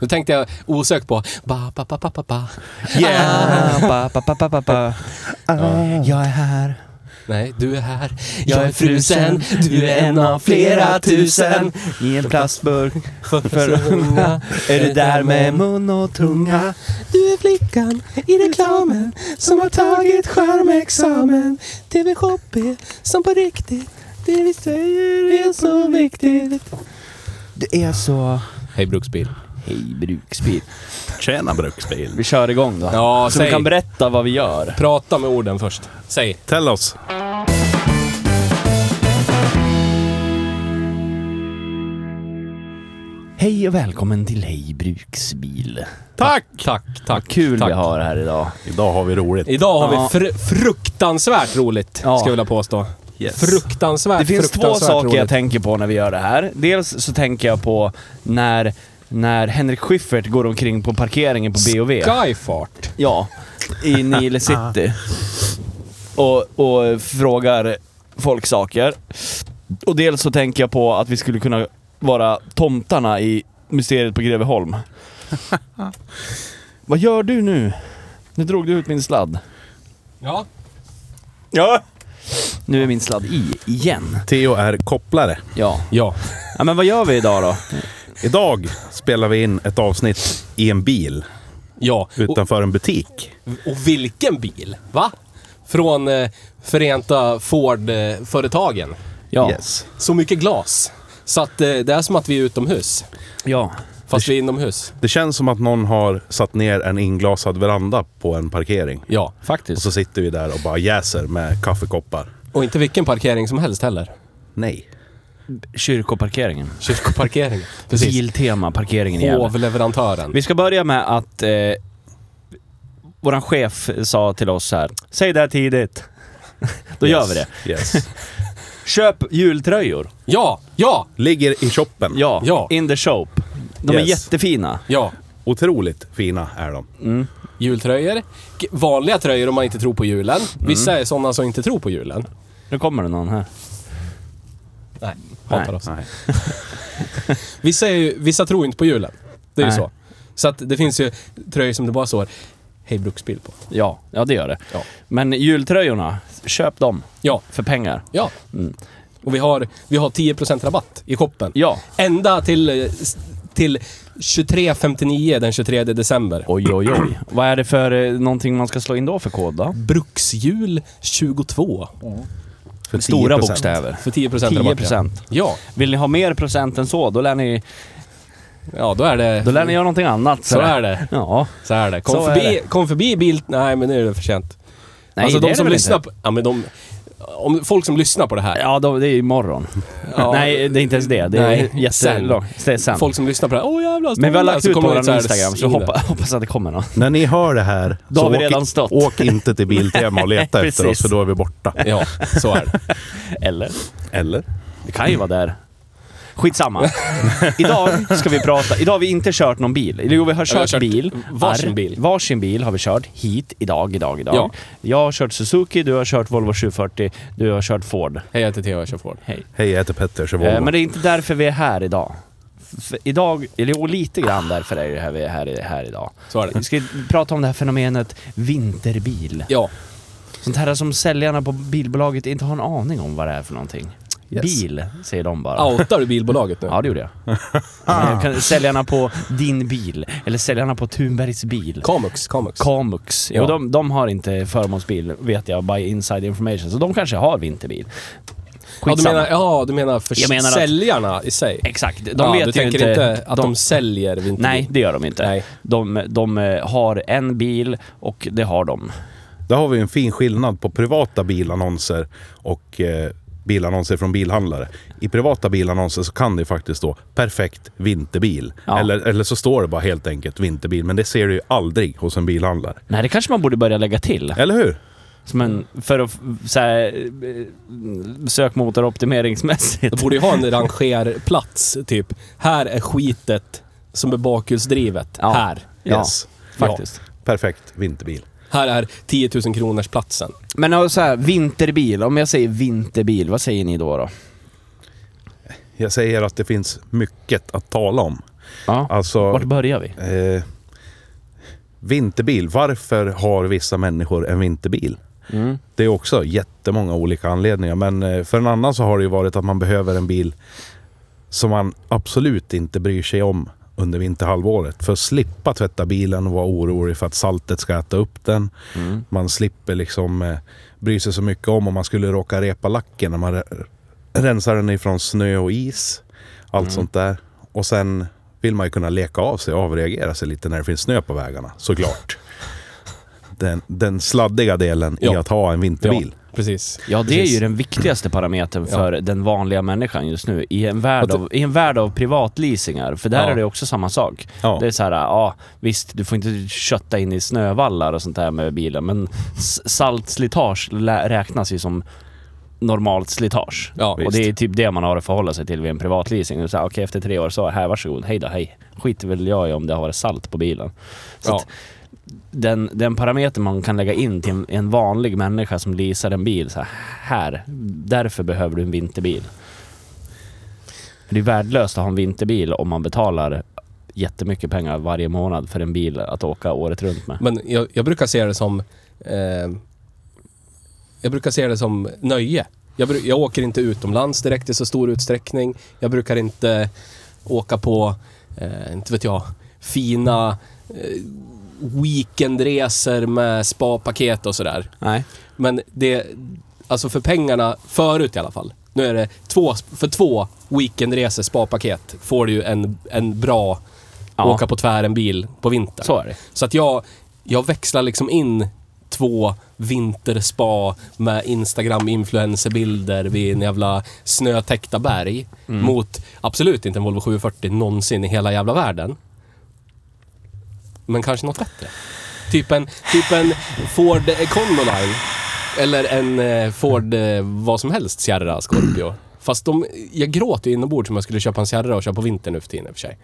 Då tänkte jag osökt på ba, ba, ba, ba, ba, ba. Yeah. Ah, ba, ba, ba, ba, ba, ba. Ah, jag är här. Nej, du är här. Jag är frusen. Du är en av flera tusen. I en plastburk för För unga. unga. Är du där med mun och tunga? Du är flickan i reklamen som har tagit skärmexamen. TV-shop är som på riktigt. Det vi säger är så viktigt. Det är så... Hej Bruksbil. Hej bruksbil. Tjena bruksbil. Vi kör igång då. Ja, så säg. vi kan berätta vad vi gör. Prata med orden först. Säg. Tell oss. Hej och välkommen till Hej bruksbil. Tack! Tack, tack. Vad kul tack. vi har här idag. Idag har vi roligt. Idag har Ja. vi fr- fruktansvärt roligt, Ja. ska jag vilja påstå. Yes. Fruktansvärt, Det finns två fruktansvärt saker jag roligt. tänker på när vi gör det här. Dels så tänker jag på när, när Henrik Schyffert går omkring på parkeringen på B&V. Skyfart. Ja, i Nile City. Och, och frågar folk saker. Och dels så tänker jag på att vi skulle kunna vara tomtarna i Mysteriet på Greveholm. Vad gör du nu? Nu drog du ut min sladd. Ja. Ja. Nu är min sladd i, igen. Theo är kopplare. Ja. Ja. ja. Men vad gör vi idag då? Idag spelar vi in ett avsnitt i en bil Ja. Och, utanför en butik. och vilken bil? Va? Från eh, Förenta eh, Ford-företagen. Ja. Yes. Så mycket glas. Så att eh, det är som att vi är utomhus. Ja. Fast vi är inomhus. Det känns som att någon har satt ner en inglasad veranda på en parkering. Ja. Och Faktiskt. så sitter vi där och bara jäser med kaffekoppar. Och inte vilken parkering som helst heller. Nej. Kyrkoparkeringen. Kyrkoparkering. Precis. Biltema, parkeringen i Gävle. Hovleverantören. Vi ska börja med att eh, våran chef sa till oss så här. Säg det här tidigt. Då gör vi det. Yes. Köp jultröjor. Ja! Ja! Ligger i shoppen. Ja, Ja. in the shop. De är Yes. jättefina. Ja. Otroligt fina är de. Mm. Jultröjor. G- Vanliga tröjor om man inte tror på julen. Vissa är sådana som inte tror på julen. Nu kommer det någon här. Nej, hatar Nej. oss. Nej. Vissa, är ju, vissa tror inte på julen. Det är ju Nej. så. Så att det finns ju tröjor som det bara står Hej Bruksbil på. Ja, ja det gör det. Ja. Men jultröjorna, köp dem Ja. för pengar. Ja. Och vi har, vi har 10% rabatt i shoppen. Ja. Ända till, eh, s- till 23.59 den 23 december. Oj, oj, oj. Vad är det för eh, någonting man ska slå in då för kod då? Bruksjul 22 För Stora 10%. bokstäver. för 10% rabatt. 10%. Ja. Vill ni ha mer procent än så, då lär ni, ja, då är det... då lär ni göra någonting annat. Mm. så är det. Ja. Så är det. Kom, Så är förbi, kom förbi bil... Nej, men nu är det för sent. Nej, alltså det de är som det väl lyssnar inte. på... Ja, men de... Om folk som lyssnar på det här. Ja, då, det är ju imorgon. Ja. Nej, det är inte ens det. Det Nej, är jättelångt. Det är sen. Folk som lyssnar på det här. Åh jävlar, Men vi har stolar", lagt så ut på kommer vår de så här, Instagram, så jag "Svin". hoppas, hoppas att det kommer någon. När ni hör det här, Då har vi åk, redan stått. åk inte till Biltema och leta Nej, efter oss precis. för då är vi borta. Ja, så är det. Eller? Eller? Det kan ju vara där. Skitsamma. idag ska vi prata, idag har vi inte kört någon bil. Eller Jo, vi har vi har kört, kört bil. varsin Arr. bil. Varsin bil har vi kört hit idag, idag, idag. Ja. Jag har kört Suzuki, du har kört Volvo 740, du har kört Ford. Hej, jag heter Theo, jag kör Ford. Hej. Hej, jag heter Petter, så Eh, Volvo. men det är inte därför vi är här idag. För idag, eller jo, lite grann därför är det här vi är här, här idag. Så är det. Vi ska prata om det här fenomenet vinterbil. Ja, Sånt här som säljarna på bilbolaget inte har en aning om vad det är för någonting. Yes. Bil, säger de bara. outar du bilbolaget nu? Ja, det gjorde jag. Men jag kan, säljarna på din bil, eller säljarna på Thunbergs bil. Kamux, Kamux. Kamux. Ja. Jo, de, de har inte förmånsbil, vet jag, by inside information. Så de kanske har vinterbil. Ja, du Skitsamma. menar, ja, du menar för Jag menar att- säljarna i sig? Exakt. De ja, du vet ju tänker inte... inte, att de, säljer vinterbil? Nej, det gör de inte. Nej. De, de eh, har en bil och det har de. Där har vi en fin skillnad på privata bilannonser och eh, bilannonser från bilhandlare. I privata bilannonser så kan det ju faktiskt stå perfekt vinterbil. Ja. Eller, eller så står det bara helt enkelt vinterbil. Men det ser du ju aldrig hos en bilhandlare. Nej, det kanske man borde börja lägga till. Eller hur? Som en, för att f- så här, eh, sökmotoroptimeringsmässigt. De borde ju ha en rangerplats, typ. Här är skitet som är bakhjulsdrivet. Ja. Här. Ja, Yes. faktiskt. Ja, perfekt vinterbil. Här är 10 000 kronors platsen. Men ja, så här, vinterbil. Om jag säger vinterbil, vad säger ni då? då? Jag säger att det finns mycket att tala om. Ja. Alltså, Vart börjar vi? eh, vinterbil. Varför har vissa människor en vinterbil? Mm. Det är också jättemånga olika anledningar. Men eh, för en annan så har det ju varit att man behöver en bil som man absolut inte bryr sig om under vinterhalvåret. För att slippa tvätta bilen och vara orolig för att saltet ska äta upp den. Mm. Man slipper liksom eh, bry sig så mycket om om man skulle råka repa lacken när man re- rensar den ifrån snö och is. Allt sånt där. Och sen vill man ju kunna leka av sig och avreagera sig lite när det finns snö på vägarna, såklart. Den, den sladdiga delen i Ja. att ha en vinterbil. Precis. Ja, det är Precis. ju den viktigaste parametern Ja. för den vanliga människan just nu. I en värld Att- av, i en värld av privatleasingar. För där Ja. är det också samma sak. Ja. Det är så här, ja visst, du får inte kötta in i snövallar och sånt där med bilen, men s- saltslitage lä- räknas ju som normalt slitage. Ja, och det är typ det man har att förhålla sig till vid en privatleasing. Det är så här, Okej, efter tre år så här, varsågod, hej då, hej. Skiter väl jag i om det har varit salt på bilen. Så Ja. att den, den parameter man kan lägga in till en, en vanlig människa som leasar en bil, så här, här, därför behöver du en vinterbil. För Det är värdelöst att ha en vinterbil om man betalar jättemycket pengar varje månad för en bil att åka året runt med. Men jag, jag brukar se det som... Eh, jag brukar se det som nöje. Jag, bru- jag åker inte utomlands direkt i så stor utsträckning. Jag brukar inte åka på, eh, inte vet jag, fina eh, weekendresor med spapaket och sådär. Nej. Men det, alltså för pengarna, förut i alla fall. Nu är det två, för två weekendresor spapaket får du ju en, en bra Ja. åka på tvären bil på vintern. Så är det. Så att jag, jag växlar liksom in två vinterspa med Instagram-influencerbilder vid en jävla snötäckta berg mot absolut inte en Volvo 740 någonsin i hela jävla världen. Men kanske något bättre. Typ en, typ en Ford Econoline. Eller en eh, Ford eh, vad som helst Sierra Scorpio. Fast de, jag gråter ju inombords om jag skulle köpa en Sierra och köra på vintern nu för tiden i och för sig.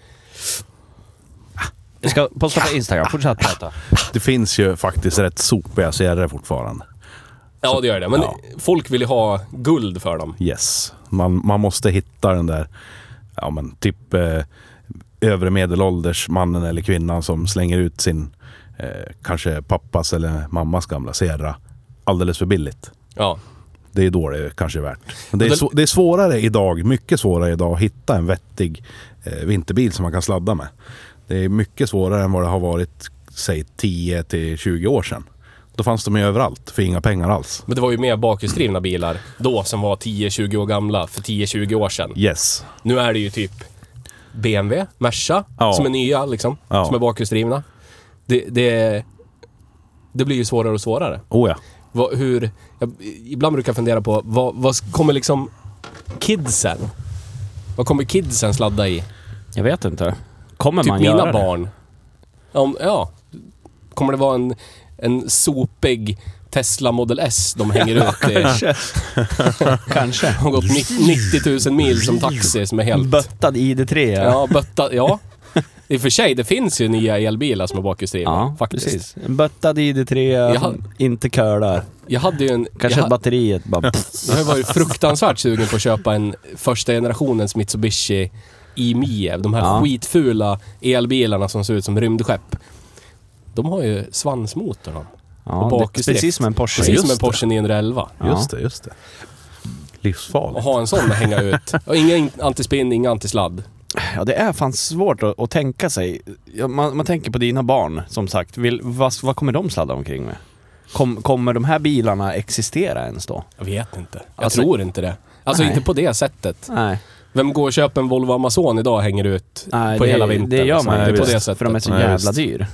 Jag ska posta på Instagram, fortsätt prata. Det finns ju faktiskt rätt sopiga Sierra fortfarande. Ja, det gör det. Men Ja. folk vill ju ha guld för dem. Yes. Man, man måste hitta den där, ja men typ eh, övre medelålders mannen eller kvinnan som slänger ut sin, eh, kanske pappas eller mammas gamla Sierra alldeles för billigt. Ja. Det är då det kanske är värt. Men det, är Men sv- det är svårare idag, mycket svårare idag att hitta en vettig eh, vinterbil som man kan sladda med. Det är mycket svårare än vad det har varit, säg 10 till 20 år sedan. Då fanns de ju överallt för inga pengar alls. Men det var ju mer bakhjulsdrivna bilar då som var 10-20 år gamla för 10-20 år sedan. Yes. Nu är det ju typ BMW, Merca, Ja. som är nya liksom. Ja. Som är bakhjulsdrivna. Det, det, det blir ju svårare och svårare. Oh ja. Vad, hur, jag, ibland brukar jag fundera på vad, vad kommer liksom kidsen? Vad kommer kidsen sladda i? Jag vet inte. Kommer typ man mina göra det? barn. Om, ja. Kommer det vara en, en sopig Tesla Model S de hänger ut i? Kanske. De har gått ni- 90 000 mil som taxi som är helt... Böttad ID3. Ja, bötta. Ja. I och för sig, det finns ju nya elbilar som är bakhjulsdrivna. Ja, faktiskt. precis. En böttad ID3, Jaha. inte curlar. Jag hade ju en... Kanske jag, ha- batteriet bara... pff. jag var ju fruktansvärt sugen på att köpa en första generationens Mitsubishi i-Miev. De här Ja. skitfula elbilarna som ser ut som rymdskepp. De har ju svansmotor de. Ja, och det, bakhjulsdrift. precis som en Porsche. Precis som en just det. Porsche 911. Ja. Just det, just det. Livsfarligt. Och ha en sån att hänga ut. Och inga in- antispinn, inga antisladd. Ja, det är fan svårt att, att tänka sig. Ja, Man, man tänker på dina barn, som sagt. Vill, vad, vad kommer de sladda omkring med? Kom, kommer de här bilarna existera ens då? Jag vet inte. Jag Alltså- tror inte det. Alltså Nej. inte på det sättet. Nej, Vem går och köper en Volvo Amazon idag och hänger ut nej på det, hela vintern? det gör liksom. man inte inte på det visst, sättet. för de är så Nej, jävla visst. dyr.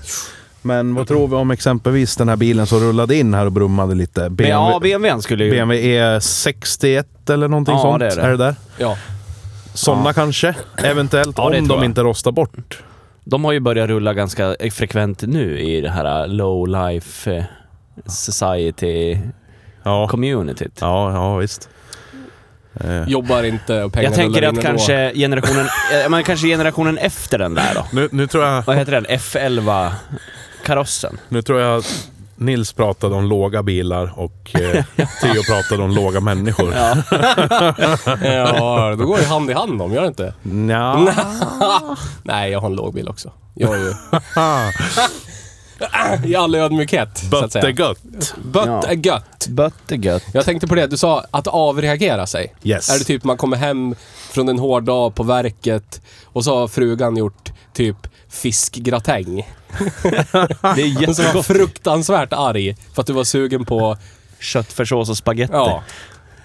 Men vad tror vi om exempelvis den här bilen som rullade in här och brummade lite? Men ja, BMW, BMWn skulle ju... BMW E61 E eller någonting Ja, sånt? det är det. Är det där? Ja. Sådana kanske? Eventuellt Ja, det om tror de jag. inte rostar bort. De har ju börjat rulla ganska frekvent nu i det här äh, low life eh, society Ja, communityt. ja, ja visst. Eh, Jobbar inte och pengarna Jag tänker rullar att in kanske generationen, eh, men kanske generationen efter den där då. Nu, nu, tror jag, Vad heter den? F11-karossen? nu tror jag att Nils pratade om låga bilar och eh, Theo pratade om låga människor. Ja. ändå. Ja, då går det hand i hand de, gör det inte? Ah. Nej, jag har en låg bil också. Jag är ju... I all ödmjukhet, så att But säga. the gött. But Ja. är gött. But gött. Jag tänkte på det, du sa att avreagera sig. Yes. Är det typ man kommer hem från en hård dag på verket och så har frugan gjort typ fiskgratäng. Det är Men så var jättegott. fruktansvärt arg för att du var sugen på, Köttfärssås och spagetti. ja.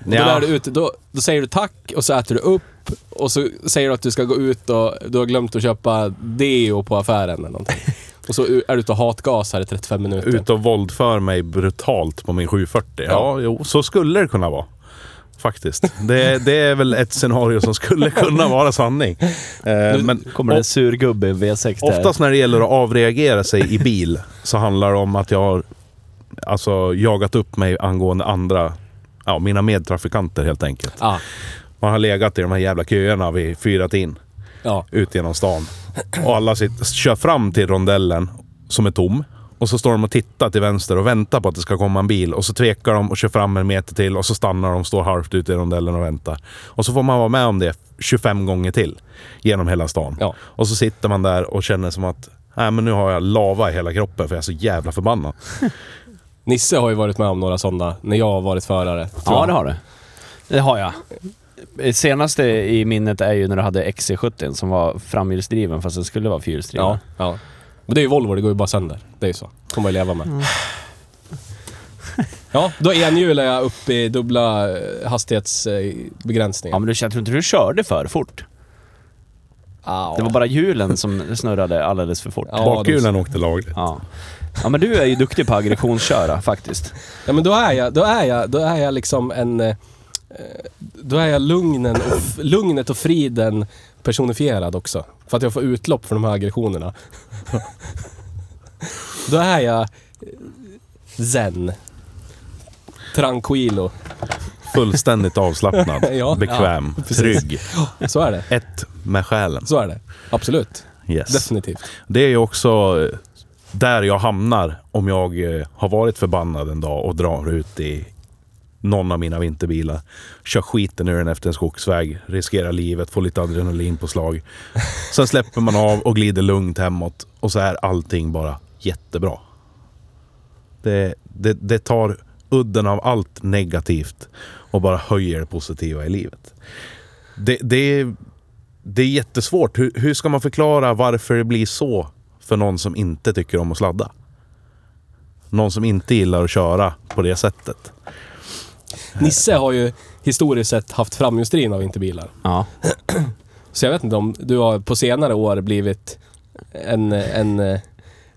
Då, Ja. lär du ut, då, då säger du tack och så äter du upp och så säger du att du ska gå ut och du har glömt att köpa deo på affären eller någonting. Och så är du ute och hatgasar i 35 minuter. Ut och våldför mig brutalt på min 740. Ja, Ja. jo, så skulle det kunna vara. Faktiskt. Det, det är väl ett scenario som skulle kunna vara sanning. Eh, men Kommer det en sur gubbe i V6 där. oftast när det gäller att avreagera sig i bil så handlar det om att jag har alltså, jagat upp mig angående andra, ja, mina medtrafikanter helt enkelt. Ja, Man har legat i de här jävla köerna vid fyra in ja. ut genom stan. Och alla sitter, kör fram till rondellen som är tom. Och så står de och tittar till vänster och väntar på att det ska komma en bil. Och så tvekar de och kör fram en meter till och så stannar de och står halvt ute i rondellen och väntar. Och så får man vara med om det 25 gånger till genom hela stan. Ja. Och så sitter man där och känner som att Nej men nu har jag lava i hela kroppen för jag är så jävla förbannad. Nisse har ju varit med om några sådana när jag har varit förare. tror Ja, jag. det har du. Det har jag. Det Senaste i minnet är ju när du hade XC70 som var framhjulsdriven fast den skulle vara fyrhjulsdriven. Ja, ja. Men det är ju Volvo, det går ju bara sönder. Det är ju så. Får man ju leva Mm. med. Ja, då enhjular jag upp i dubbla eh, Ja, hastighetsbegränsningar. men du, jag tror inte du körde för fort. Ja, Det var bara hjulen som snurrade alldeles för fort. Ja. Bakhjulen åkte lagligt. Ja. ja, men du är ju duktig på aggressionsköra faktiskt. ja, men då är jag, då är jag, då är jag liksom en... eh, Då är jag lugnen och, f- lugnet och friden personifierad också. För att jag får utlopp för de här aggressionerna. Då är jag eh, zen. Tranquilo. Fullständigt avslappnad, Ja. bekväm, trygg. Så är det. Ett med själen. Så är det. Absolut. Yes. Definitivt. Det är ju också eh, där jag hamnar om jag eh, har varit förbannad en dag och drar ut i någon av mina vinterbilar. Kör skiten ur den efter en skogsväg, riskerar livet, får lite adrenalin på slag. Sen släpper man av och glider lugnt hemåt och så är allting bara jättebra. Det, det, det tar udden av allt negativt och bara höjer det positiva i livet. Det, det är det är jättesvårt. Hur, hur ska man förklara varför det blir så för någon som inte tycker om att sladda? Någon som inte gillar att köra på det sättet. Nisse har ju historiskt sett haft framhjulsdrivna vinterbilar. Ja. Så jag vet inte om du har på senare år blivit en, en eh,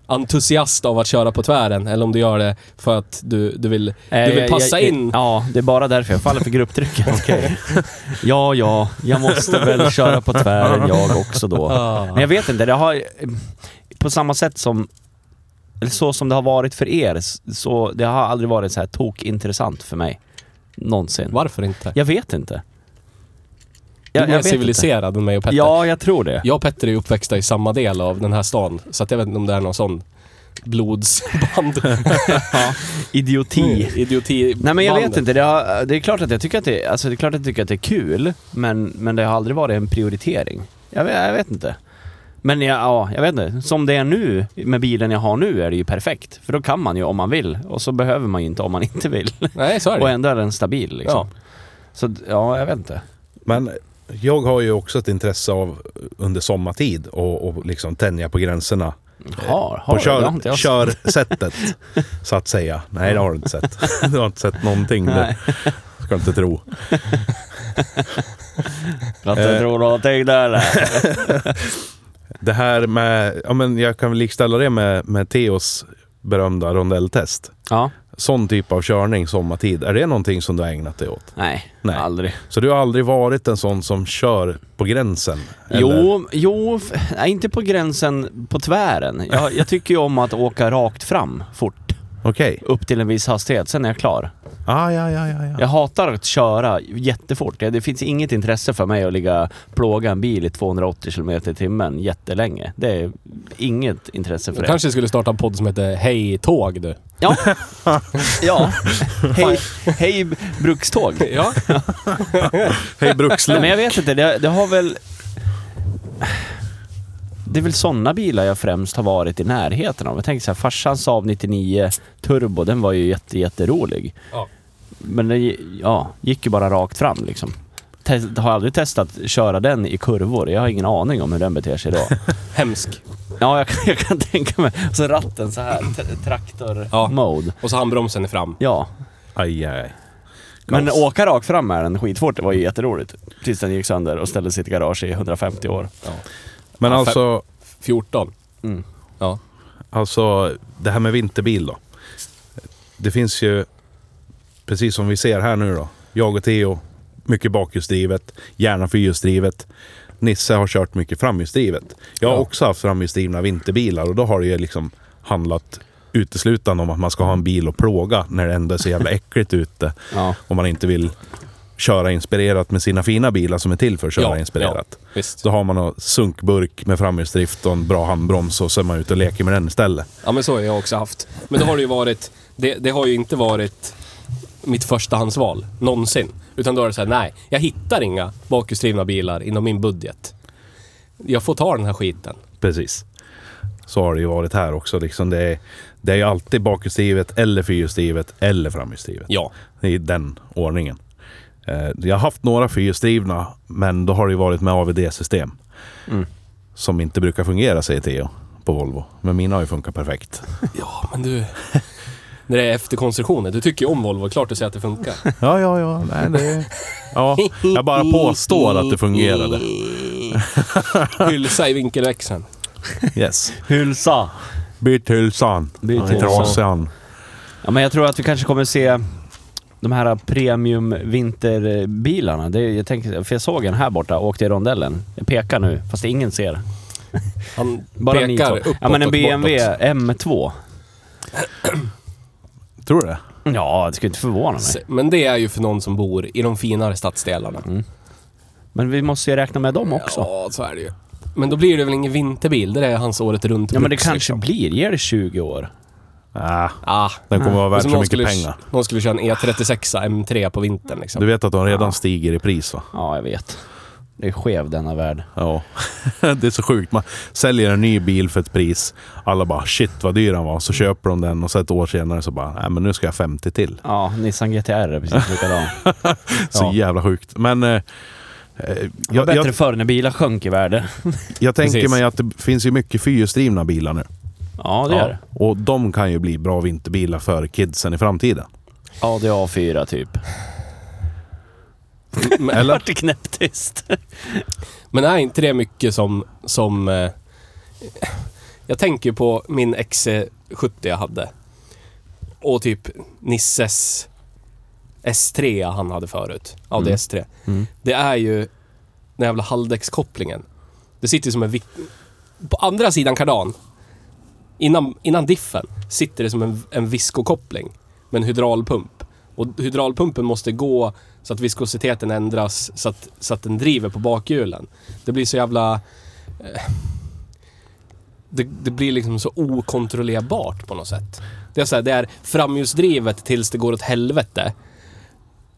entusiast av att köra på tvären eller om du gör det för att du, du vill, du vill passa in. Eh, Ja, det är bara därför jag faller för grupptrycket. Ja, ja, jag måste väl köra på tvären jag också då. Men jag vet inte, det har... eh, På samma sätt som... Eller så som det har varit för er, så det har aldrig varit så här tokintressant för mig. Någonsin. Varför inte? Jag vet inte. Du är mer vet civiliserad än mig och Inte. Petter. Ja, jag tror det. Jag och Petter är ju uppväxta i samma del av den här stan, så att jag vet inte om det är någon sån blodsband. Idioti. Idioti. Nej men jag vet inte, det, har, det är klart att jag tycker att det, alltså det är klart att jag tycker att det är kul, men, men det har aldrig varit en prioritering. Jag vet, jag vet inte. Men jag, ja, jag vet inte. Som det är nu, med bilen jag har nu, är det ju perfekt. För då kan man ju om man vill, och så behöver man ju inte om man inte vill. Nej, så är det. Och ändå är den stabil liksom. Så d- ja, jag vet inte. Men jag har ju också ett intresse av under sommartid och, och liksom tänja på gränserna. Har, har på du? Det har inte kör, jag kör sättet så att säga. Nej, det har du inte sett. Du har inte sett någonting. Det Nej. ska du inte tro. Platte Eh. tror du har tänkt där eller? Det här med, ja men jag kan väl likställa det med, med Theos berömda rondelltest. Ja. Sån typ av körning sommartid, är det någonting som du har ägnat dig åt? Nej, Nej. aldrig. Så du har aldrig varit en sån som kör på gränsen? eller? Jo, jo, f- nej, inte på gränsen på tvären. Jag, jag tycker ju om att åka rakt fram fort. Okej. Upp till en viss hastighet, sen är jag klar. Ah, ja, ja, ja, ja. Jag hatar att köra jättefort. Det det finns inget intresse för mig att ligga plåga en bil i 280 km i timmen jättelänge. Det är inget intresse för Du det. kanske skulle starta en podd som heter Hej Tåg du. Ja. ja. Hej, hej brukståg. Ja. Hej Nej, Brukslund. Men jag vet inte, det, det har väl... Det är väl sådana bilar jag främst har varit i närheten av. Jag tänker så här, farsans Saab 99 Turbo, den var ju jätte, jätterolig. Ja. Men den gi- ja, gick ju bara rakt fram liksom. Te- har aldrig testat köra den i kurvor. Jag har ingen aning om hur den beter sig idag. Hemsk. Ja, jag kan, jag kan tänka mig. Så ratten så här, t- traktor-mode. Och så handbromsen är fram. Ja. Aj, aj, aj. Men Kaos. åka rakt fram med den skitfort, det var ju jätteroligt. Tills den gick sönder och ställde sitt garage i 150 år. Men Ja, för- alltså, 14. Mm. Ja. alltså, det här med vinterbil då. Det finns ju, precis som vi ser här nu då. Jag och Theo, mycket bakhjulsdrivet, gärna fyrhjulsdrivet. Nisse har kört mycket framhjulsdrivet. Jag har Ja. också haft framhjulsdrivna vinterbilar och då har det ju liksom handlat uteslutande om att man ska ha en bil att plåga när det ändå är så jävla äckligt ute. Ja. Om man inte vill köra inspirerat med sina fina bilar som är till för att köra Ja, inspirerat. ja, visst. Så har man en sunkburk med framhjulsdrift och en bra handbroms och så är man ute och leker med den istället. Ja men så har jag också haft. Men då har det ju varit, det, det har ju inte varit mitt förstahandsval någonsin. Utan då är det så här, nej, jag hittar inga bakhjulsdrivna bilar inom min budget. Jag får ta den här skiten. Precis. Så har det ju varit här också. Liksom det, är, det är ju alltid bakhjulsdrivet eller fyrhjulsdrivet eller framhjulsdrivet. Ja. I den ordningen. Eh, Jag har haft några fyrhjulsdrivna, men då har det ju varit med AVD-system. Mm. Som inte brukar fungera, säger Theo på Volvo. Men mina har ju funkat perfekt. Ja, men du... När det är efterkonstruktioner, du tycker ju om Volvo, klart du säger att det funkar. Ja, ja, ja. Nej, det... ja. Jag bara påstår att det fungerade. Hylsa i vinkelväxeln. Yes. Hylsa! Byt hylsan. Byt Den är hylsan. trasig han. Ja, men jag tror att vi kanske kommer se de här premium vinterbilarna. Det, är- jag tänker, för jag såg en här borta, åkte i rondellen. Jag pekar nu, fast ingen ser. Han Bara ni pekar två. uppåt Ja men en och BMW bortåt. M2. Tror du det? Ja, det skulle inte förvåna mig. Men det är ju för någon som bor i de finare stadsdelarna. Men vi måste ju räkna med dem också. Ja, Ja, så är det ju. Men då blir det väl ingen vinterbil? Det där är hans året runt men det bruks, kanske liksom. blir. Ger det 20 år? Ah, Ah. den kommer vara Det är värd som så någon mycket skulle, pengar. Någon skulle köra en E36 M3 på vintern Du liksom. vet att de redan stiger i pris va? Ja, jag vet. Det är skev denna värld. Ja. Det är så sjukt. Man säljer en ny bil för ett pris. Alla bara shit vad dyr den var. Så köper de den och så ett år senare så bara nej men nu ska jag 50 till. Ja, Nissan GTR är precis likadan. Så Ja. jävla sjukt. Men eh, eh, Det var jag, bättre jag, förr när bilar sjönk i värde. jag tänker Precis. mig att det finns ju mycket fyrhjulsdrivna bilar nu. Ja, det gör det. Och de kan ju bli bra vinterbilar för kidsen i framtiden. ADA 4 typ. Men, Eller? Vart det knäpptyst. men är inte det mycket som... som eh, jag tänker ju på min XC70 jag hade. Och typ Nisses S3 han hade förut. Ja, det är S3. Mm. Det är ju den jävla halvdäckskopplingen. Det sitter ju som en... vik- På andra sidan kardan, innan, innan diffen, sitter det som en, en viskokoppling med en hydraulpump. Och hydraulpumpen måste gå så att viskositeten ändras så att, så att den driver på bakhjulen. Det blir så jävla... eh, Det, det blir liksom så okontrollerbart på något sätt. Det är, så här, det är framhjulsdrivet tills det går åt helvete.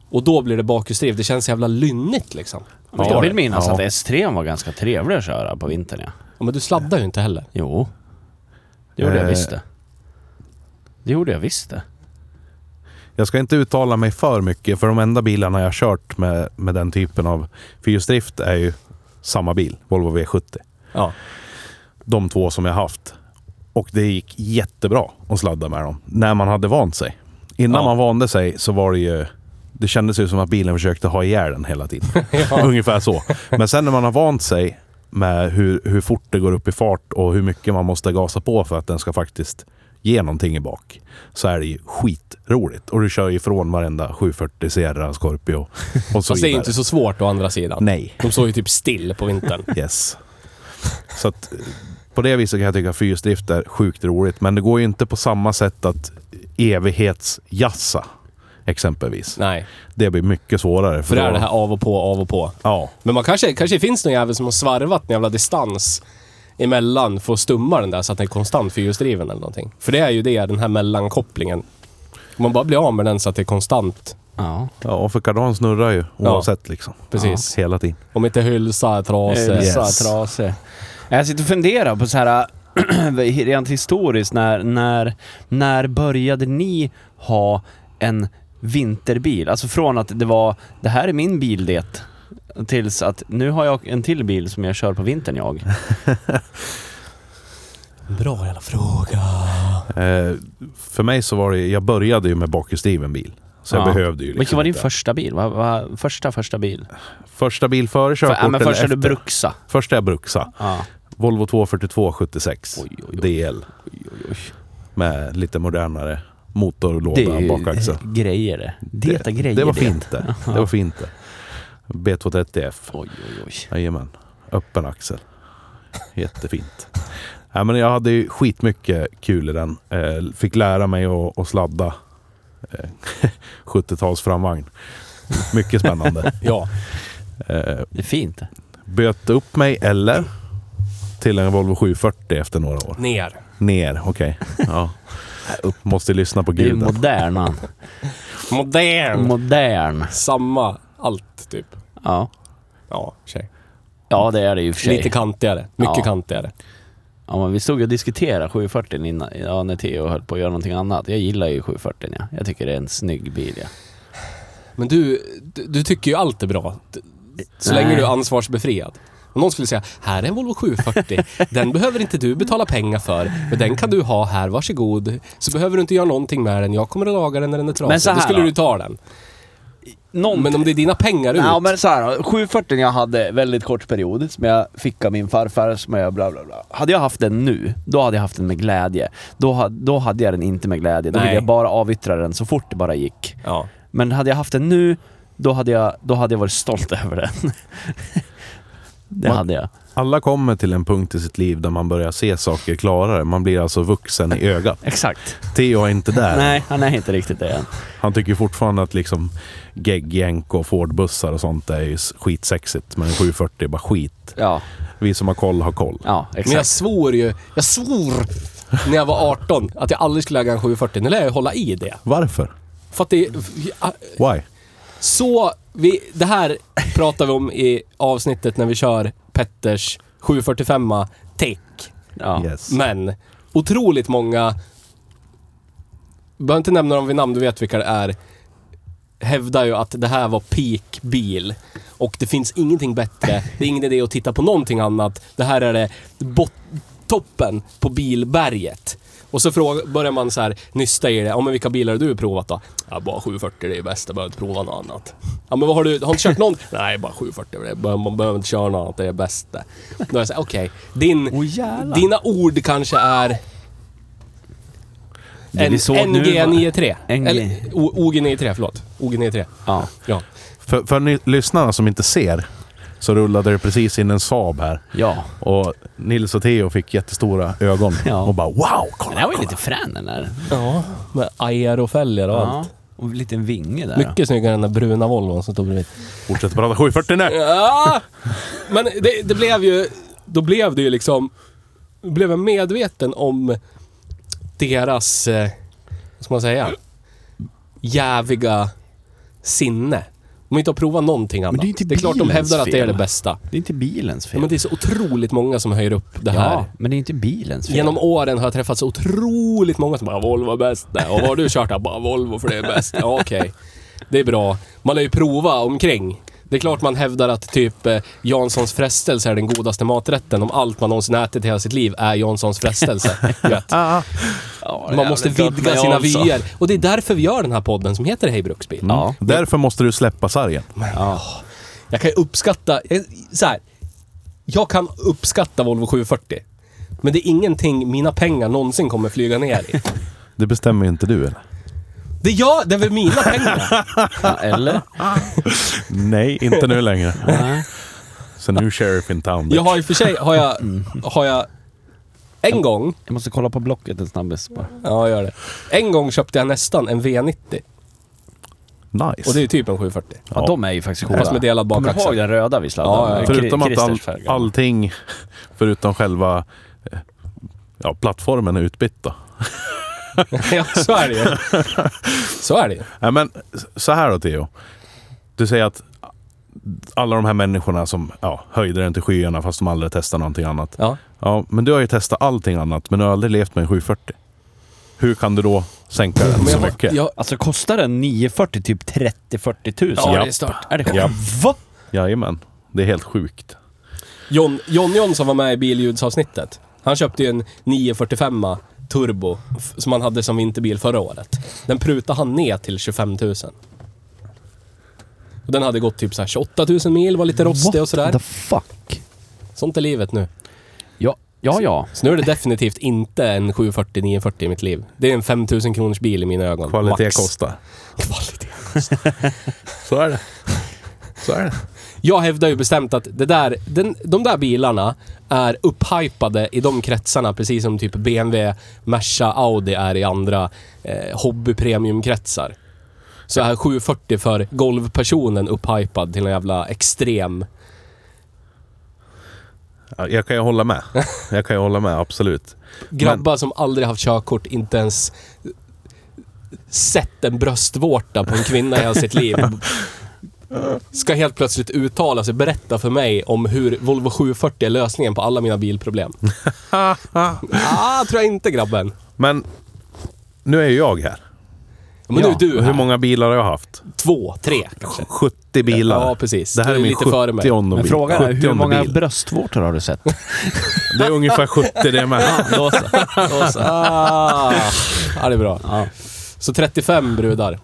Och då blir det bakhjulsdrivet. Det känns så jävla lynnigt liksom. Men jag vill minnas Ja. att S3 var ganska trevlig att köra på vintern ja. Ja, men du sladdar ju inte heller. Jo. Det gjorde jag Eh. visst det. Det gjorde jag visst det. Jag ska inte uttala mig för mycket för de enda bilarna jag har kört med, med den typen av fyrhjulsdrift är ju samma bil, Volvo V70. Ja. De två som jag haft. Och det gick jättebra att sladda med dem när man hade vant sig. Innan Ja. man vande sig så var det ju Det kändes ju som att bilen försökte ha ihjäl den hela tiden. Ungefär så. Men sen när man har vant sig med hur, hur fort det går upp i fart och hur mycket man måste gasa på för att den ska faktiskt ge någonting i bak. Så är det ju skitroligt. Och du kör ju ifrån varenda 740 Sierra Scorpio och så Fast det är ju vidare. inte så svårt å andra sidan. Nej. De står ju typ still på vintern. Yes. Så att eh, på det viset kan jag tycka att fyrhjulsdrift är sjukt roligt. Men det går ju inte på samma sätt att evighetsjassa exempelvis. Nej. Det blir mycket svårare. För det är då- det här av och på, av och på. Ja. Men man kanske, kanske finns någon jävel som har svarvat en jävla distans emellan för att stumma den där så att den är konstant fyrhjulsdriven eller någonting. För det är ju det, den här mellankopplingen. Om man bara blir av med den så att det är konstant. Ja. ja, och för kardan snurrar ju oavsett liksom. Precis. Ja, hela tiden. Om inte hylsa är trasig. Yes. Yes. Trasig. Eh, Jag sitter och funderar på så här rent historiskt, när, när, när började ni ha en vinterbil? Alltså från att det var, det här är min bil det, tills att nu har jag en till bil som jag kör på vintern jag. Bra jävla fråga. Eh, för mig så var det, jag började ju med bakhjulsdriven bil. Så jag Ja. behövde ju liksom Vilken var din inte- första bil? Vad var första första bil? Första bil före För, körkort ja, men eller första du efter? bruksa. Första jag bruxa. Ja. Volvo 242 76 Oj, oj, oj. DL. Med lite modernare Det motorlåda är ju bakaxel. grejer det. Det är grejer det var fint det. Det var fint det. B230F. Oj, oj, oj. Jajamän. Öppen axel. Jättefint. Nej, men jag hade ju skitmycket kul i den. Eh, Fick lära mig att, att sladda eh, 70-tals framvagn. Mycket spännande. Ja. Eh, Det är fint. Böt upp mig eller till en Volvo 740 efter några år. Ner. Ner, okej. Ja. Upp. Måste lyssna på Det är ju guden. modern han. Modern. Modern. Samma. Allt typ. Ja. Ja, i och för sig. Ja det är det ju för sig. Lite kantigare. Mycket Ja. kantigare. Ja men vi stod och diskuterade 740 innan, ja, när Theo höll på att göra någonting annat. Jag gillar ju 740 ja. Jag tycker det är en snygg bil ja. Men du, du, du tycker ju allt är bra. D- Så Nej. länge du är ansvarsbefriad. Om någon skulle säga, här är en Volvo 740. Den behöver inte du betala pengar för. Men den kan du ha här, varsågod. Så behöver du inte göra någonting med den. Jag kommer att laga den när den är trasig. Men så här då skulle då? du ta den. Någon... Men om det är dina pengar ut. Ja men så här, då. 740 jag hade väldigt kort period som jag fick av min farfar som jag bla bla bla. Hade jag haft den nu, då hade jag haft den med glädje. Då, ha, då hade jag den inte med glädje. Då Nej. ville jag bara avyttra den så fort det bara gick. Ja. Men hade jag haft den nu, då hade jag, då hade jag varit stolt över den. det Man- hade jag. Alla kommer till en punkt i sitt liv där man börjar se saker klarare. Man blir alltså vuxen i ögat. Exakt. Theo är inte där. Nej, han är inte riktigt det än. Han tycker fortfarande att liksom geggjänk och Fordbussar och sånt är ju skitsexigt. Men en 740 är bara skit. Ja, Vi som har koll har koll. ja Men jag exakt. svor ju, jag svor när jag var 18 att jag aldrig skulle äga en 740. Nu lär jag hålla i det. Varför? För att det Why? Så, vi, det här pratar vi om i avsnittet när vi kör Petters 745 Tech. Ja. Yes. Men otroligt många, behöver inte nämna dem vid namn, du vet vilka det är, hävdar ju att det här var peakbil. Och det finns ingenting bättre, det är ingen idé att titta på någonting annat. Det här är det bot- toppen på bilberget. Och så fråga, börjar man så här nysta i det. Ja men vilka bilar har du provat då? Ja, bara 740, det är bäst. Jag behöver inte prova något annat. Ja men vad har du, har du inte kört någon? Nej, bara 740. det är- Man behöver inte köra något annat, det är bäst det. Då är jag såhär, okej. Din, Åh, jävlar. dina ord kanske är... Det vi såg nu var- NG93. NG. Eller O- OG93, förlåt. OG93. Ja. Ja. För, för ni, lyssnarna som inte ser så rullade det precis in en Saab här. Ja. Och Nils och Theo fick jättestora ögon Ja. och bara wow, kolla! Den här var ju lite frän den där. ja. Med aerofälgar och Ja. allt. Och en liten vinge där. Mycket snyggare än den där bruna Volvon som stod bredvid. Fortsätt prata 740 nu! Ja! Men det, det blev ju... Då blev det ju liksom... Blev jag medveten om deras... Eh, vad ska man säga? Jäviga sinne. De har inte har provat någonting annat. det är ju inte det är klart de bilens hävdar att det är det fel. bästa. Det är inte bilens Ja, fel. men det är så otroligt många som höjer upp det här. Ja, men det är inte bilens fel. Genom åren har jag träffat så otroligt många som bara “Volvo är bäst”. Nej, och vad har du kört? Jag bara “Volvo för det är bäst”. Ja, okej. Det är bra. Man har ju prova omkring. Det är klart man hävdar att typ eh, Janssons frestelse är den godaste maträtten om allt man någonsin ätit i hela sitt liv är Janssons frestelse. Du vet. Ja, det är Man måste jävligt gött, vidga men jag sina också. vyer. Och det är därför vi gör den här podden som heter Hej Bruksbil. Ja. Därför måste du släppa sargen. Jag kan ju uppskatta... jag- Så här, jag kan uppskatta Volvo 740. Men det är ingenting mina pengar någonsin kommer flyga ner i. Det bestämmer ju inte du eller? Det är jag, det är väl mina pengar. Ja, Eller? Nej, inte nu längre. Så nu sheriff in town. bitch. Jag har i och för sig, har jag, har jag en gång, Jag måste kolla på Blocket en snabbis bara. ja gör det. En gång köpte jag nästan en V90 Nice. och det är ju typ en 740. Ja, de är ju faktiskt coola. Fast med delad Kommer du ihåg bakaxel. den röda vi sladdade? Ja, ja. med? Förutom Kri- att all, Christers färg. allting, förutom själva eh, ja, plattformen är utbytt då. Ja, så är det ju. Så är det ju. Nej, men s- så här då Theo. Du säger att alla de här människorna som ja, höjde den till skyarna fast de aldrig testade någonting annat. Ja. Ja, men du har ju testat allting annat men du har aldrig levt med en 740. Hur kan du då sänka den så jag, mycket? jag, Alltså kostar den 940 typ 30-40 tusen? ja, Ja. det är stört. Är det Ja. Va? Jajamän. Det är helt sjukt. John, John John som var med i billjudsavsnittet, han köpte ju en 945 turbo f- som han hade som vinterbil förra året. Den prutade han ner till 25 000. Och den hade gått typ så här 28 000 mil, var lite rostig och the sådär. fuck? Sånt är livet nu. Ja, ja. ja. Så nu är det definitivt inte en 740-940 i mitt liv. Det är en 5000 kronors bil i mina ögon. Kvalitet max. kostar. Kvalitet. Så är det. Så är det. Jag hävdar ju bestämt att det där, den, de där bilarna är upphypade i de kretsarna precis som typ BMW, Merca, Audi är i andra eh, hobbypremiumkretsar. Så är 740 för golvpersonen upphypad till en jävla extrem... Ja, Jag kan ju hålla med. Jag kan ju hålla med, absolut. Grabbar som aldrig haft körkort, inte ens sett en bröstvårta på en kvinna i hela sitt liv. Ska helt plötsligt uttala sig, berätta för mig om hur Volvo 740 är lösningen på alla mina bilproblem. ah, tror jag inte grabben. Men nu är ju jag här. Ja, Men Ja, nu är du Hur här. många bilar har jag haft? Två, tre kanske. 70 bilar. Ja, precis. Det här Du är är min lite före mig. 70 Men bil. frågan är hur 70 många bil. bröstvårtor har du sett? Det är ungefär 70 det med. Då så. Då så. Ah, ja, det är bra. Ja. Så 35 brudar.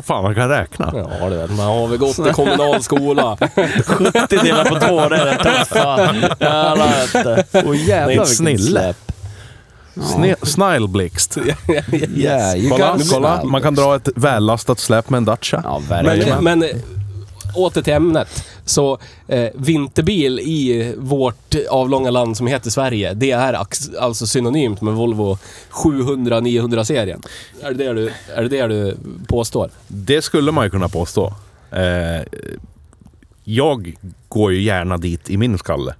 Fan, man kan räkna. Ja, det vet man. Har vi gått i kommunal skola? 70 delar på två, det är rätt tufft. Fan. Jävlar inte. Åh jävlar Det är ett vilket snille. släpp. Sne- Snilleblixt. Yeah, you Kolla, got kolla. snap. Man kan dra ett vällastat släp med en Dacia. Ja, Men, verkligen. men eh, åter till ämnet. Så eh, vinterbil i vårt avlånga land som heter Sverige, det är ax- alltså synonymt med Volvo 700-900-serien. Är det det, du, är det det du påstår? Det skulle man ju kunna påstå. Eh, jag går ju gärna dit i min skalle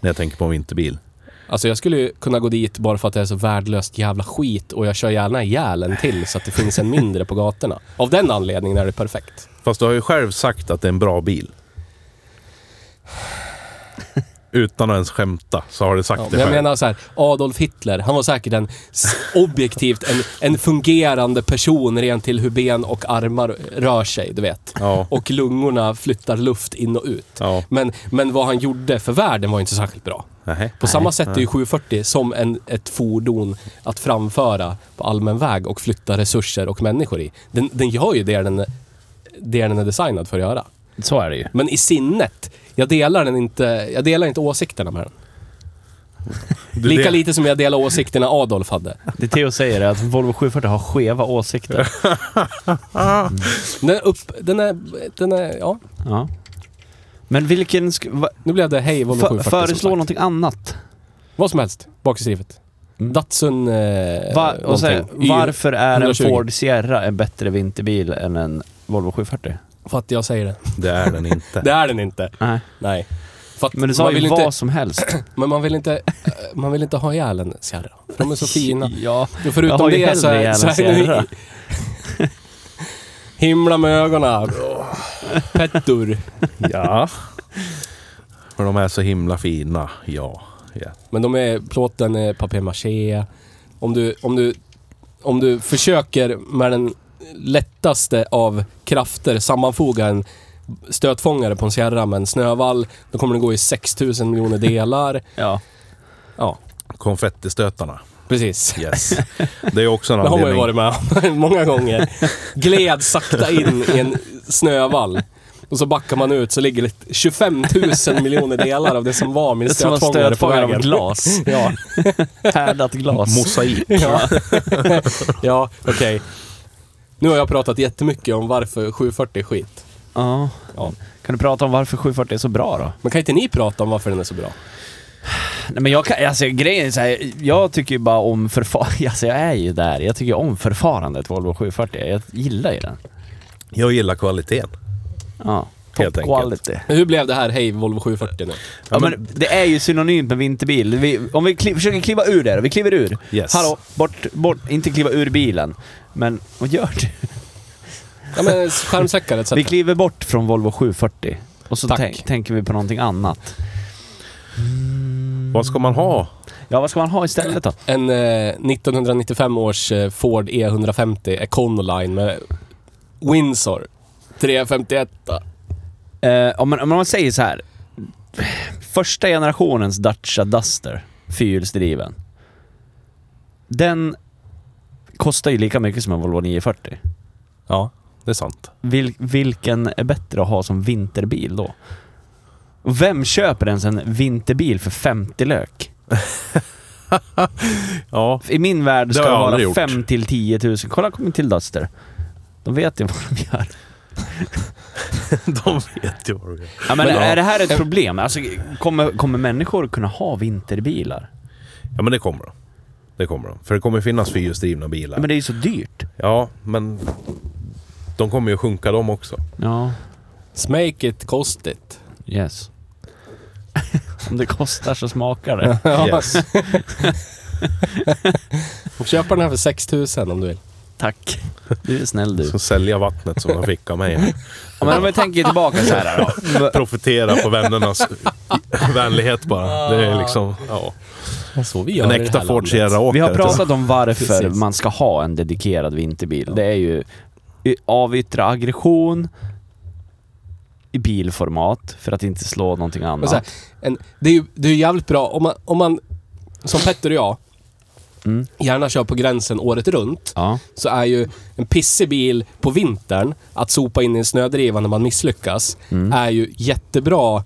när jag tänker på en vinterbil. Alltså jag skulle ju kunna gå dit bara för att det är så värdelöst jävla skit och jag kör gärna ihjäl en till så att det finns en mindre på gatorna. Av den anledningen är det perfekt. Fast du har ju själv sagt att det är en bra bil. Utan att ens skämta så har du sagt Ja, det men jag själv. menar så här, Adolf Hitler, han var säkert en s- objektivt en, en fungerande person rent till hur ben och armar rör sig, du vet. Ja. Och lungorna flyttar luft in och ut. Ja. Men, men vad han gjorde för världen var ju inte särskilt bra. Nähä. På samma sätt är ju 740 som en, ett fordon att framföra på allmän väg och flytta resurser och människor i. Den, den gör ju det den, det den är designad för att göra. Så är det ju. Men i sinnet, jag delar, den inte, jag delar inte åsikterna med den. Du, Lika det- lite som jag delar åsikterna Adolf hade. Det Theo säger är att Volvo 740 har skeva åsikter. Den är upp... Den är... Den är ja, Ja. Men vilken... Sk- va- nu blev det hej Volvo för, 740 som sagt. föreslå någonting annat. Vad som helst, baksystemet. Mm. Datsun... Eh, Va, och så här, någonting. Y- varför är en 120. Ford Sierra en bättre vinterbil än en Volvo 740? För att jag säger det. Det är den inte. Det är den inte. Nej. Nej. För att Men du man sa vill ju inte, vad som helst. Men man vill inte... eh, Man vill inte ha ihjäl en Sierra. De är så fina. Ja. Jo, förutom Jag har ju det så hellre är, ihjäl så en är Sierra. det... Himla med ögonen. Pettur. Ja. För de är så himla fina. Ja. ja. Men de är, plåten är papier-maché. Om du, om, du, om du försöker med den lättaste av krafter sammanfoga en stötfångare på en Sierra med en snövall, då kommer den gå i 6000 miljoner delar. Ja. Ja. Konfettistötarna. Precis. Yes. Det är också en Det har man ju varit anledning. med om många gånger. Gled sakta in i en snövall. Och så backar man ut så ligger det 25 000 miljoner delar av det som var min Det är som en stötfångare på stötfångare av vägen. glas. Ja, Härdat glas. Mosaik. ja. ja okej. Nu har jag pratat jättemycket om varför 740 är skit. Ja. Ja. Kan du prata om varför 740 är så bra då? Men kan inte ni prata om varför den är så bra? Nej men jag kan, alltså grejen är så här, jag tycker ju bara om förfarandet, alltså jag är ju där. Jag tycker om förfarandet Volvo 740, jag gillar ju den. Jag gillar kvaliteten. Ja. Helt Top enkelt. quality. Men Hur blev det här Hej Volvo 740 nu? Ja, men det är ju synonymt med vinterbil. Vi, om vi kli, försöker kliva ur det då. vi kliver ur. Yes. Hallå, bort, bort, inte kliva ur bilen. Men, vad gör du? Ja men skärmsäckar etc. Vi kliver bort från Volvo 740 och så Tack. tänk, tänker vi på någonting annat. Vad ska man ha? Ja, vad ska man ha istället då? En eh, 1995 års eh, Ford E150 Econoline med Windsor 351. Eh, om, man, om man säger så här. Första generationens Dacia Duster, fyrhjulsdriven. Den kostar ju lika mycket som en Volvo 940. Ja, det är sant. Vil, vilken är bättre att ha som vinterbil då? Och Vem köper ens en vinterbil för 50 lök? Ja. I min värld Det ska har jag det aldrig vara gjort. 5 till 10 000. Kolla kom till Duster. De vet ju vad de gör. De vet ju vad de gör. Ja, men Men ja. är det här ett problem? Alltså, kommer, kommer människor kunna ha vinterbilar? Ja, men det kommer de. Det kommer de. För det kommer finnas fyrhjulsdrivna bilar. Ja, men det är ju så dyrt. Ja, men de kommer ju sjunka de också. Ja, Smake it, cost it. yes. Om det kostar så smakar det. Yes. Och Köpa den här för 6000 om du vill. Tack. Du är snäll du. Så sälja vattnet som de fick av mig. Ja, men om vi tänker tillbaka så här då. Profitera på vännernas vänlighet bara. Det är liksom... Ja. Så vi gör En i det äkta här Ford landet. Sierra Åkare. Vi har pratat om varför Precis. man ska ha en dedikerad vinterbil. Det är ju i- avyttra aggression i bilformat för att inte slå någonting Men så här, annat. en, det, är ju, det är ju jävligt bra om man, om man, som Petter och jag, Mm. gärna kör på gränsen året runt. Ja. Så är ju en pissig bil på vintern, att sopa in i en snödriva när man misslyckas, Mm. är ju jättebra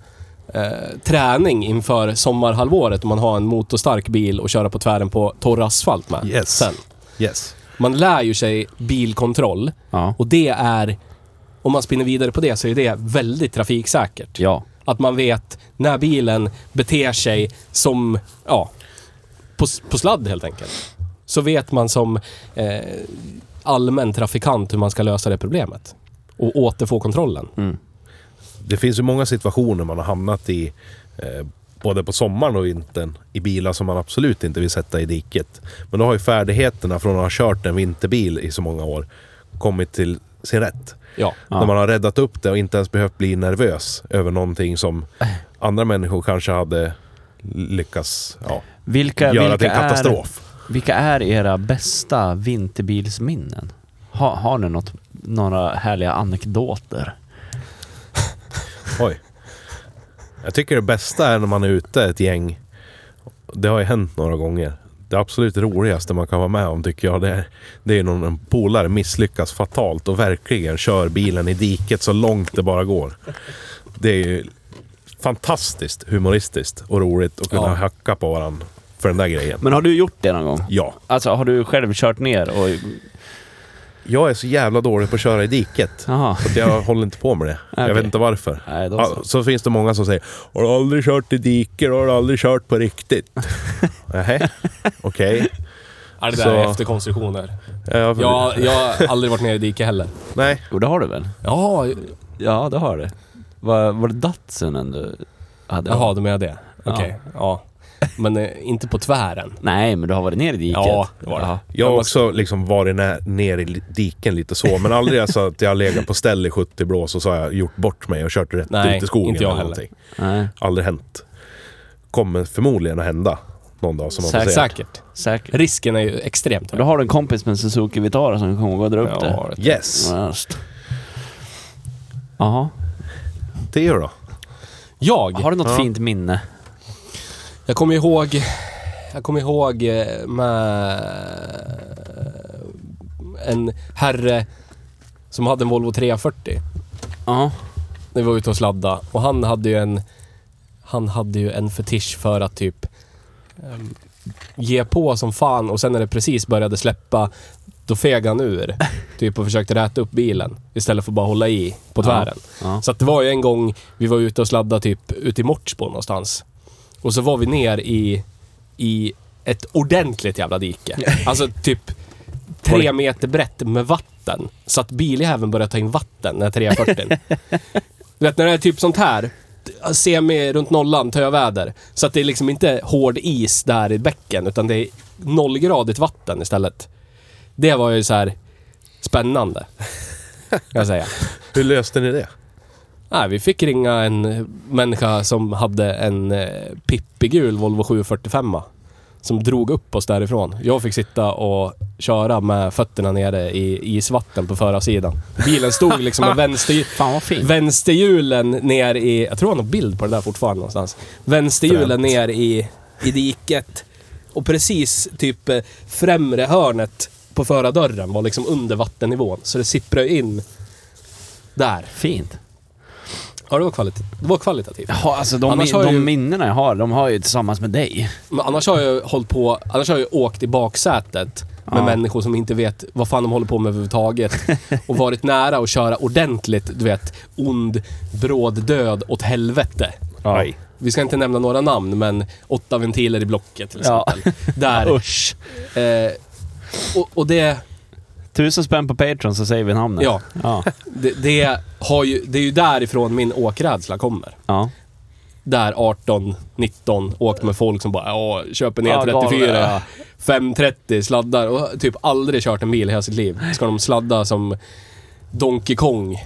eh, träning inför sommarhalvåret om man har en motorstark bil och köra på tvären på torr asfalt med. Yes. Sen. Yes. Man lär ju sig bilkontroll Ja. och det är, om man spinner vidare på det, så är det väldigt trafiksäkert. ja. Att man vet när bilen beter sig som, ja, på, på sladd helt enkelt. Så vet man som eh, allmän trafikant hur man ska lösa det problemet. Och återfå kontrollen. Det finns ju många situationer man har hamnat i eh, både på sommaren och vintern i bilar som man absolut inte vill sätta i diket. Men då har ju färdigheterna från att ha kört en vinterbil i så många år kommit till sin rätt. Ja. Ja. När man har räddat upp det och inte ens behövt bli nervös över någonting som andra människor kanske hade lyckats ja, Vilka, göra till vilka, en är, katastrof. vilka är era bästa vinterbilsminnen? Ha, har ni något, några härliga anekdoter? Oj. Jag tycker det bästa är när man är ute ett gäng. Det har ju hänt några gånger. Det absolut roligaste man kan vara med om tycker jag det är, det är när en polare misslyckas fatalt och verkligen kör bilen i diket så långt det bara går. Det är ju fantastiskt humoristiskt och roligt att kunna Ja. hacka på varandra för den där grejen. Men har du gjort det någon gång? Ja. Alltså har du själv kört ner och... Jag är så jävla dålig på att köra i diket. Jaha. Så att jag håller inte på med det. Okej. Jag vet inte varför. Nej, då Ja, så. så finns det många som säger Har du aldrig kört i diket? Har du aldrig kört på riktigt? Nähä, okej. Är det där Så- är efterkonstruktioner. Ja, för- Jag, jag har aldrig varit nere i diket heller. Nej, Jo, det har du väl? Ja, Ja, det har du. Var, var det Datsunen du hade? jaha, du menar det. Ja. Okej. Ja. Men eh, inte på tvären. Nej, men du har varit ner i diket? Ja, det var det. Ja. jag har också liksom varit nä- ner i li- diken lite så, men aldrig alltså att jag har legat på ställ i 70 blås och så har jag gjort bort mig och kört rätt Nej, ut i skogen. inte jag eller heller. någonting. Nej, Aldrig hänt. Kommer förmodligen att hända någon dag som man får Säkert. se. Säkert. säkert. Risken är ju extremt hög. Då har du en kompis med en Suzuki Vitara som kommer ihåg att dra upp det. Ja, Yes, Ja, just. Jaha. Theo då? jag, Har du något fint minne? jag kommer ihåg Jag kommer ihåg eh, med eh, en herre som hade en Volvo 340 Ja. när vi var ute och sladda och han hade ju en han hade ju en fetisch för att typ ehm, ge på som fan och sen när det precis började släppa då fegade han ur typ och försökte räta upp bilen istället för att bara hålla i på tvären. ja. Så att det var ju en gång vi var ute och sladdade typ ute i Mortsbo någonstans. Och så var vi ner i, i ett ordentligt jävla dike. Alltså typ tre meter brett med vatten. Så att biljäveln började ta in vatten när 340. du vet när det är typ sånt här. Semi runt nollan, töväder. Så att det är liksom inte hård is där i bäcken utan det är nollgradigt vatten istället. Det var ju så här spännande. Kan jag säga. Hur löste ni det? Nej, vi fick ringa en människa som hade en eh, pippigul Volvo 745 som drog upp oss därifrån. Jag fick sitta och köra med fötterna nere i isvatten på förarsidan. Bilen stod liksom med vänster, Fan vad fint. vänsterhjulen ner i... Jag tror han har bild på det där fortfarande någonstans. Vänsterhjulen Främt. ner i, i diket. Och precis typ eh, främre hörnet på förardörren var liksom under vattennivån. Så det sipprade in där. Fint. Ja, det var, kvalit- det var kvalitativt. Ja, alltså de, Annars min- har de ju- minnena jag har, de har jag ju tillsammans med dig. Men annars har jag ju hållit på, annars har jag ju åkt i baksätet med Ja. människor som inte vet vad fan de håller på med överhuvudtaget. Och varit nära att köra ordentligt, du vet, ond, bråd död åt helvete. Aj. Vi ska inte nämna några namn, men åtta ventiler i blocket till Ja. exempel. Där. Usch. Eh, och, och det, Tusen spänn på Patreon så säger vi namnet. ja, Ja. det, det, har ju, det är ju därifrån min åkrädsla kommer. ja. där 18, 19, åkt med folk som bara ja, köper ner Ja, galna. 34, 530, sladdar och typ aldrig kört en bil i hela sitt liv. Ska de sladda som Donkey Kong.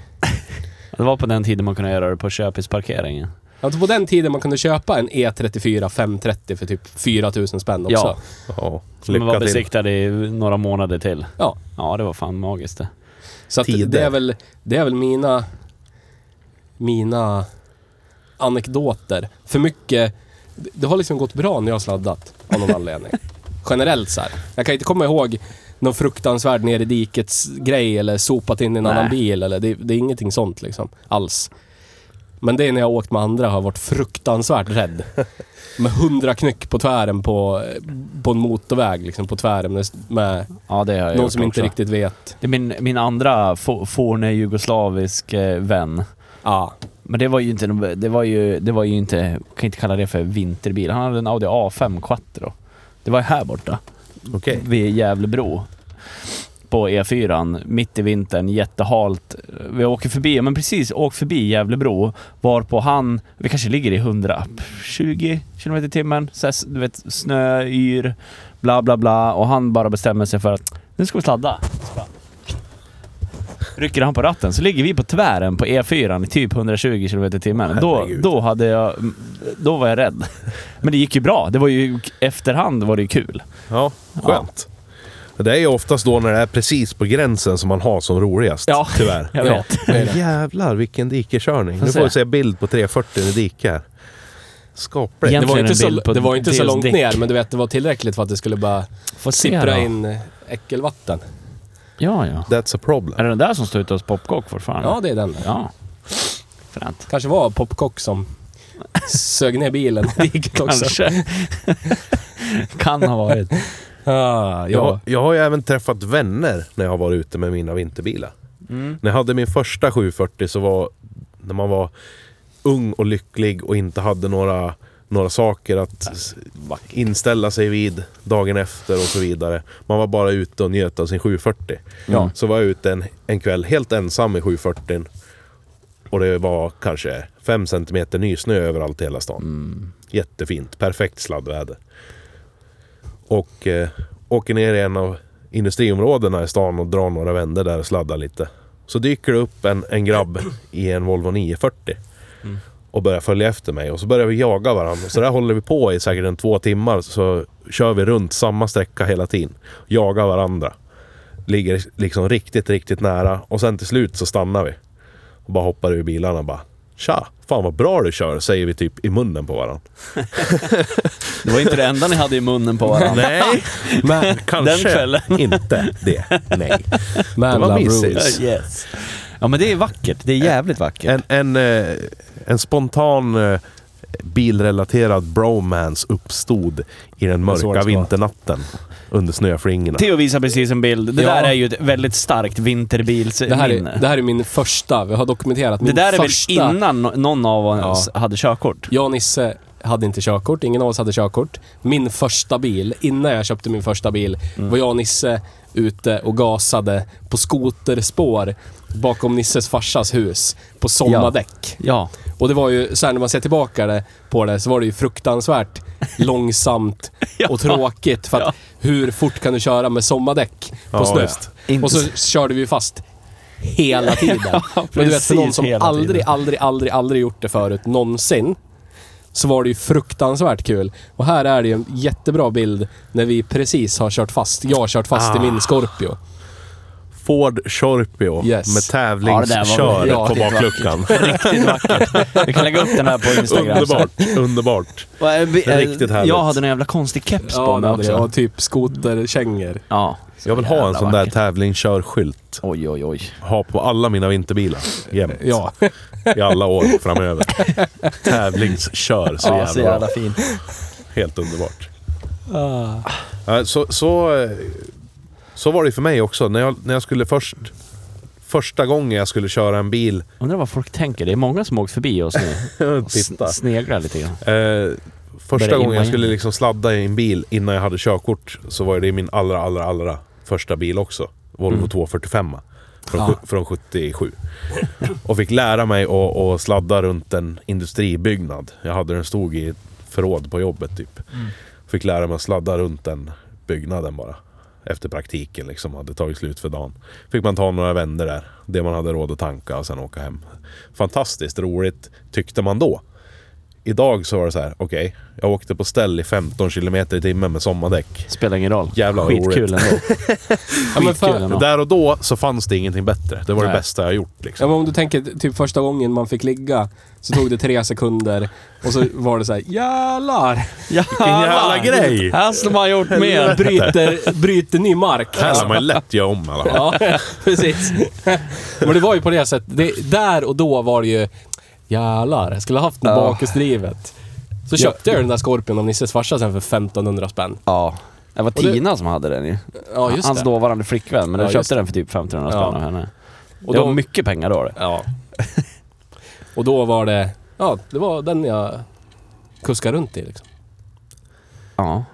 Det var på den tiden man kunde göra det på köpisparkeringen. Alltså på den tiden man kunde köpa en E E34 530 för typ 4000 spänn också. Ja. Ja, Som var lycka till. besiktad i några månader till. Ja. Ja, det var fan magiskt det. Så att det, Tider. är väl, det är väl mina, mina anekdoter. För mycket, det har liksom gått bra när jag har sladdat av någon anledning. Generellt så här. Jag kan inte komma ihåg någon fruktansvärd ner i dikets grej eller sopat in i en Nej. annan bil eller det, det är ingenting sånt liksom alls. Men det är när jag har åkt med andra har jag varit fruktansvärt rädd. Med hundra knyck på tvären på, på en motorväg liksom på tvären med, med Ja, det har jag någon gjort som inte också. riktigt vet. Det är min, min andra fo- forne jugoslavisk eh, vän. Ja, Men det var ju inte, någon- det var ju, det var ju inte, jag kan inte kalla det för vinterbil. Han hade en Audi A5 Quattro. Det var ju här borta, Okej. vid Gävlebro. På E4, mitt i vintern, jättehalt. Vi åker förbi, ja, men precis, åker förbi Gävlebro. Varpå han, vi kanske ligger i 120 km i timmen. Så här, s- du vet, snö, yr, bla bla bla. Och han bara bestämmer sig för att nu ska vi sladda. Så bara- Rycker han på ratten så ligger vi på tvären på E4 i typ 120 km i timmen. Då, Herregud. då, hade jag, då var jag rädd. Men det gick ju bra. Det var ju, efterhand var det ju kul. Ja, skönt. Det är ju oftast då när det är precis på gränsen som man har som roligast. Ja. Tyvärr. Jag Ja. vet. det är det. Jävlar vilken dikekörning. Får Nu se. får vi se bild på 340 i dike här. Skapligt. Jäm- Det var, Egentligen inte så, en bild på det var inte så deras långt däck. ner, men du vet, det var tillräckligt för att det skulle bara Får se sippra då. in eh, äckelvatten. Ja, ja. That's Är a problem. det den där som står ute hos Popcock fortfarande? Ja, det är den. Ja. Fränt. Kanske var Popcock som sög ner bilen i diket också. Kanske. kan ha varit. Ah, Jag, ja. jag har ju även träffat vänner när jag har varit ute med mina vinterbilar. När jag hade min första 740 så var när man var ung och lycklig och inte hade några, några saker att s- inställa sig vid dagen efter och så vidare. Man var bara ute och njöt av sin 740. Ja. Så var jag ute en, en kväll helt ensam i 740 och det var kanske 5 cm nysnö överallt i hela stan. Jättefint, perfekt sladdväder. Och eh, åker ner i en av industriområdena i stan och drar några vändor där och sladdar lite. Så dyker det upp en, en grabb i en Volvo 940 och börjar följa efter mig och så börjar vi jaga varandra. Så där håller vi på i säkert en två timmar så kör vi runt samma sträcka hela tiden. Jagar varandra. Ligger liksom riktigt, riktigt nära och sen till slut så stannar vi. Och bara hoppar ur bilarna och bara Tja, fan vad bra du kör, säger vi typ i munnen på varandra. Det var inte det enda ni hade i munnen på varandra. Nej, men kanske kvällen. inte det. Nej. Man Det var love mysigt. rules. Yes. Eh, Ja men det är vackert. Det är jävligt vackert. En, en, eh, en spontan eh, bilrelaterad bromance uppstod i den är så det mörka ska. vinternatten under snöflingorna. Theo visar precis en bild. Det Ja. där är ju ett väldigt starkt vinterbilsminne. Det här, är, det här är min första, vi har dokumenterat min Det där är väl första. innan no- någon av oss hade körkort? Jag och Nisse hade inte körkort, ingen av oss hade körkort. Min första bil, innan jag köpte min första bil, var jag och Nisse ute och gasade på skoterspår bakom Nisses farsas hus på sommardäck. Ja. Och det var ju så här när man ser tillbaka det, på det så var det ju fruktansvärt långsamt och tråkigt. För att hur fort kan du köra med sommardäck på Ja, snö? visst. Inte Och så körde vi ju fast hela tiden. Men du vet, för någon precis, som hela aldrig, tiden. aldrig, aldrig, aldrig gjort det förut någonsin så var det ju fruktansvärt kul. Och här är det ju en jättebra bild när vi precis har kört fast. Jag har kört fast i min Scorpio. Ford Scorpio Yes. med Ja, tävlingskör det där var på riktigt bakluckan. Vi kan lägga upp den här på Instagram. underbart, underbart. Och, eh, vi- eh, Riktigt härligt. Jag hade en jävla konstig keps på Ja, det mig hade också. jag. Och typ skoterkängor. Ja. Jag vill ha en jävla sån där vackert. tävlingskör-skylt. Oj, oj, oj. Ha på alla mina vinterbilar jämt. Ja. I alla år framöver. Tävlingskör, så, Ja, jävla, så jävla bra. fin. Helt underbart. Ah. Ja, Så, så, eh, så var det för mig också. När jag, när jag skulle först... Första gången jag skulle köra en bil... Undrar vad folk tänker. Det är många som åkt förbi oss nu. Och Titta. sn- sneglar lite grann. Eh, första Börja gången imma jag skulle igen. liksom sladda i en bil innan jag hade körkort så var det min allra, allra, allra första bil också. Volvo Mm. 245 från, Ja. sju- från 77. Och fick lära mig att, att sladda runt en industribyggnad. Jag hade den stod i ett förråd på jobbet typ. Fick lära mig att sladda runt den byggnaden bara. Efter praktiken liksom, hade tagit slut för dagen. Fick man ta några vändor där. Det man hade råd att tanka och sen åka hem. Fantastiskt roligt tyckte man då. Idag så var det så här, okej. jag åkte på ställ i 15 km i timmen med sommardäck. Spelar ingen roll. Jävlar vad Skitkul roligt. ändå. Ja, men för- Skitkul ändå. Där och då så fanns det ingenting bättre. Det var Nej. det bästa jag gjort liksom. Ja, men om du tänker typ första gången man fick ligga så tog det tre sekunder och så var det så här jävlar! Vilken jävla grej! Här skulle man ha gjort mer. Bryter, bryter ny mark. Här lär man ju lätt göra om i alla fall. Ja, precis. Men det var ju på det sättet. Det, där och då var det ju jävlar, jag skulle ha haft den Ja. bakhjulsdrivet. Så köpte jag den där Scorpion av Nisses farsa sen för 1500 spänn. Ja. Det var Och det- Tina som hade den ju. Ja, just Hans det. dåvarande flickvän, men Ja, just jag köpte det. den för typ 1500 spänn Ja. av henne. Och det då- var mycket pengar då. Det. Ja. Och då var det, ja, det var den jag kuskade runt i liksom. Ja.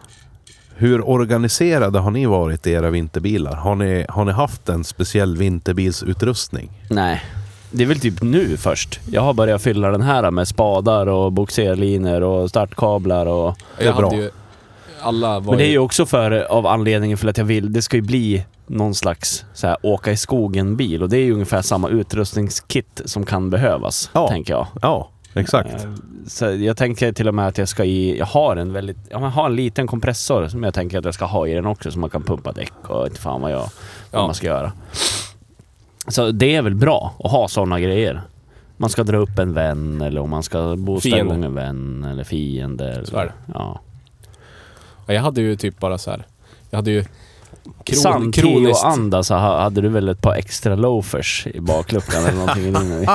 Hur organiserade har ni varit i era vinterbilar? Har ni, har ni haft en speciell vinterbilsutrustning? Nej. Det är väl typ nu först. Jag har börjat fylla den här med spadar och bogserlinor och startkablar och... är jag bra. Hade ju, alla var Men det är ju också för, av anledningen för att jag vill, det ska ju bli någon slags så här, åka i skogen-bil och det är ju ungefär samma utrustningskit som kan behövas, Ja. tänker jag. Ja, exakt. Eh, Så jag tänker till och med att jag ska i, jag har en väldigt, ja men har en liten kompressor som jag tänker att jag ska ha i den också så man kan pumpa däck och inte fan vad jag, vad Ja. man ska göra. Så det är väl bra att ha sådana grejer. Man ska dra upp en vän eller om man ska boosta Fiende. igång en vän eller fiende. Eller, Så är det. Ja. Ja, Jag hade ju typ bara så här. Jag hade ju kron, Sam, Teo kroniskt... och Anda så ha- hade du väl ett par extra loafers i bakluckan eller någonting. innan vi-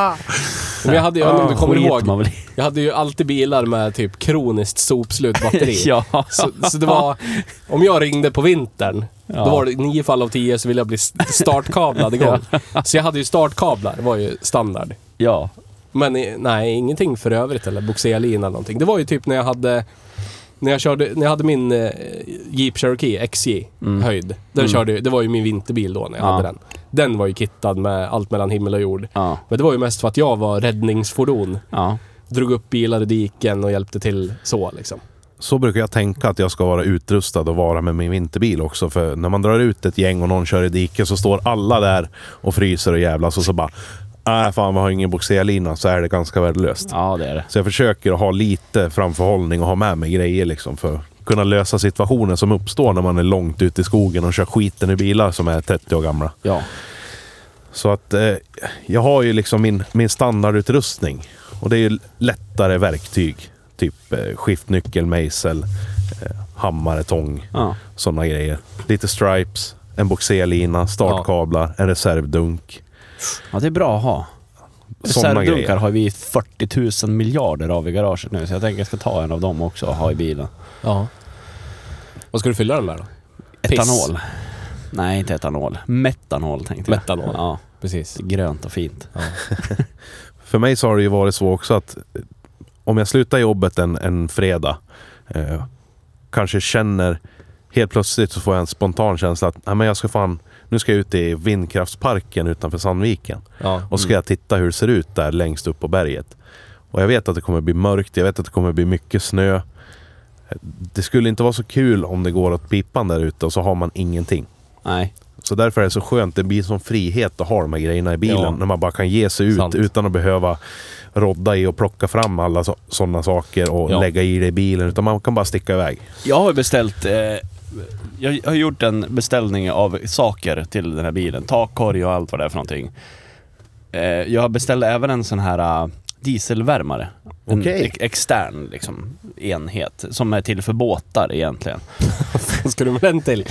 Men jag hade ju, jag vet inte om du kommer Ah, Skit ihåg, man väl i. jag hade ju alltid bilar med typ kroniskt sopslut batteri. ja. Så, så det var, om jag ringde på vintern, Ja. då var det i nio fall av tio så ville jag bli s- startkablad igång. Så jag hade ju startkablar, det var ju standard. ja. Men i- nej, ingenting för övrigt eller bogserlina eller någonting. Det var ju typ när jag hade, när jag körde, när jag hade min eh, Jeep Cherokee XJ Mm. höjd. Den körde ju- det var ju min vinterbil då när jag Ja. hade den. Den var ju kittad med allt mellan himmel och jord. Ja. Men det var ju mest för att jag var räddningsfordon. Ja. Drog upp bilar i diken och hjälpte till så liksom. Så brukar jag tänka att jag ska vara utrustad och vara med min vinterbil också. För när man drar ut ett gäng och någon kör i diket så står alla där och fryser och jävlas och så bara... Nej, fan vi har ingen bogserlina så är det ganska värdelöst. ja, det är det. Så jag försöker att ha lite framförhållning och ha med mig grejer liksom för att kunna lösa situationer som uppstår när man är långt ute i skogen och kör skiten i bilar som är 30 år gamla. Ja. Så att eh, jag har ju liksom min, min standardutrustning. Och det är ju lättare verktyg. Typ eh, skiftnyckel, mejsel, eh, hammare, tång, Ja. sådana grejer. Lite stripes, en boxerlina, startkablar, en reservdunk. ja, det är bra att ha. Sådana Reservdunkar grejer. har vi 40 000 miljarder av i garaget nu, så jag tänker jag ska ta en av dem också och ha i bilen. Ja. Vad ska du fylla den med då? Piss. Etanol. Nej, inte etanol. Metanol tänkte jag. Metanol. Ja, Precis. grönt och fint. För mig så har det ju varit så också att eh, om jag slutar jobbet en, en fredag, eh, kanske känner helt plötsligt så får jag en spontan känsla att Nej, men jag ska fan, nu ska jag ut i vindkraftsparken utanför Sandviken. Ja. Och så ska jag titta hur det ser ut där längst upp på berget. Och jag vet att det kommer bli mörkt, jag vet att det kommer bli mycket snö. Det skulle inte vara så kul om det går åt pipan där ute och så har man ingenting. Nej. Så därför är det så skönt, det blir som frihet att ha de här grejerna i bilen. Ja. När man bara kan ge sig ut Sant. utan att behöva rodda i och plocka fram alla sådana saker och Ja. lägga i det i bilen. Utan man kan bara sticka iväg. Jag har ju beställt... Eh, jag har gjort en beställning av saker till den här bilen. Takkorg och allt vad det är för någonting. Eh, jag beställde även en sån här eh, dieselvärmare. En Okej. ex- extern liksom, enhet som är till för båtar egentligen. Vad ska du med den till?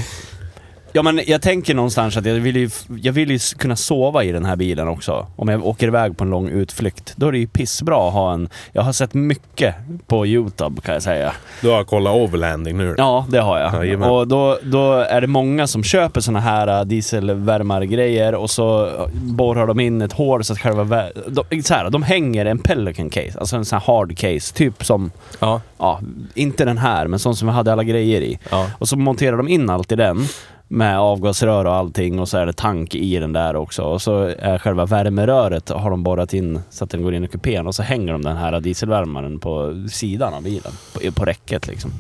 Ja men jag tänker någonstans att jag vill ju, jag vill ju s- kunna sova i den här bilen också. Om jag åker iväg på en lång utflykt. Då är det ju pissbra att ha en... Jag har sett mycket på Youtube kan jag säga. Du har kollat overlanding nu? Ja, det har jag. Jajamän. och då, då är det många som köper såna här äh, dieselvärmargrejer och så äh, borrar de in ett hål så att själva... vä- De, så här, de hänger en Pelican case, alltså en sån här hard case. Typ som, Ja. ja, inte den här, men sån som vi hade alla grejer i. Ja. Och så monterar de in allt i den med avgasrör och allting och så är det tank i den där också. Och så är själva värmeröret har de borrat in så att den går in i kupén och så hänger de den här dieselvärmaren på sidan av bilen, på, på räcket liksom.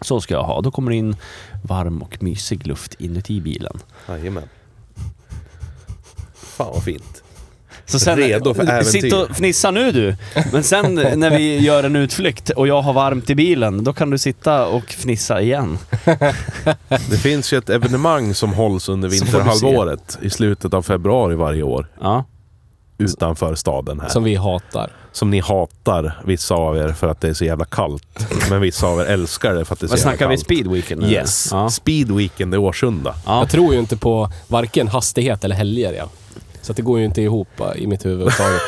Så ska jag ha. Då kommer det in varm och mysig luft inuti bilen. Jajamän. Fan vad fint. Så Redo för äventyr. Sitt och fnissa nu du! Men sen när vi gör en utflykt och jag har varmt i bilen, då kan du sitta och fnissa igen. Det finns ju ett evenemang som hålls under Så får du se. vinterhalvåret i slutet av februari varje år Ja. utanför staden här. Som, Som vi hatar. ni hatar, vissa av er, för att det är så jävla kallt. Men vissa av er älskar det för att det är så Vad jävla snackar vi? kallt. Speedweekend? nu? Yes. Ja. Speed Weekend i Årsunda. Ja. Jag tror ju inte på varken hastighet eller helger. Ja. Så att det går ju inte ihop va, i mitt huvud. överhuvudtaget.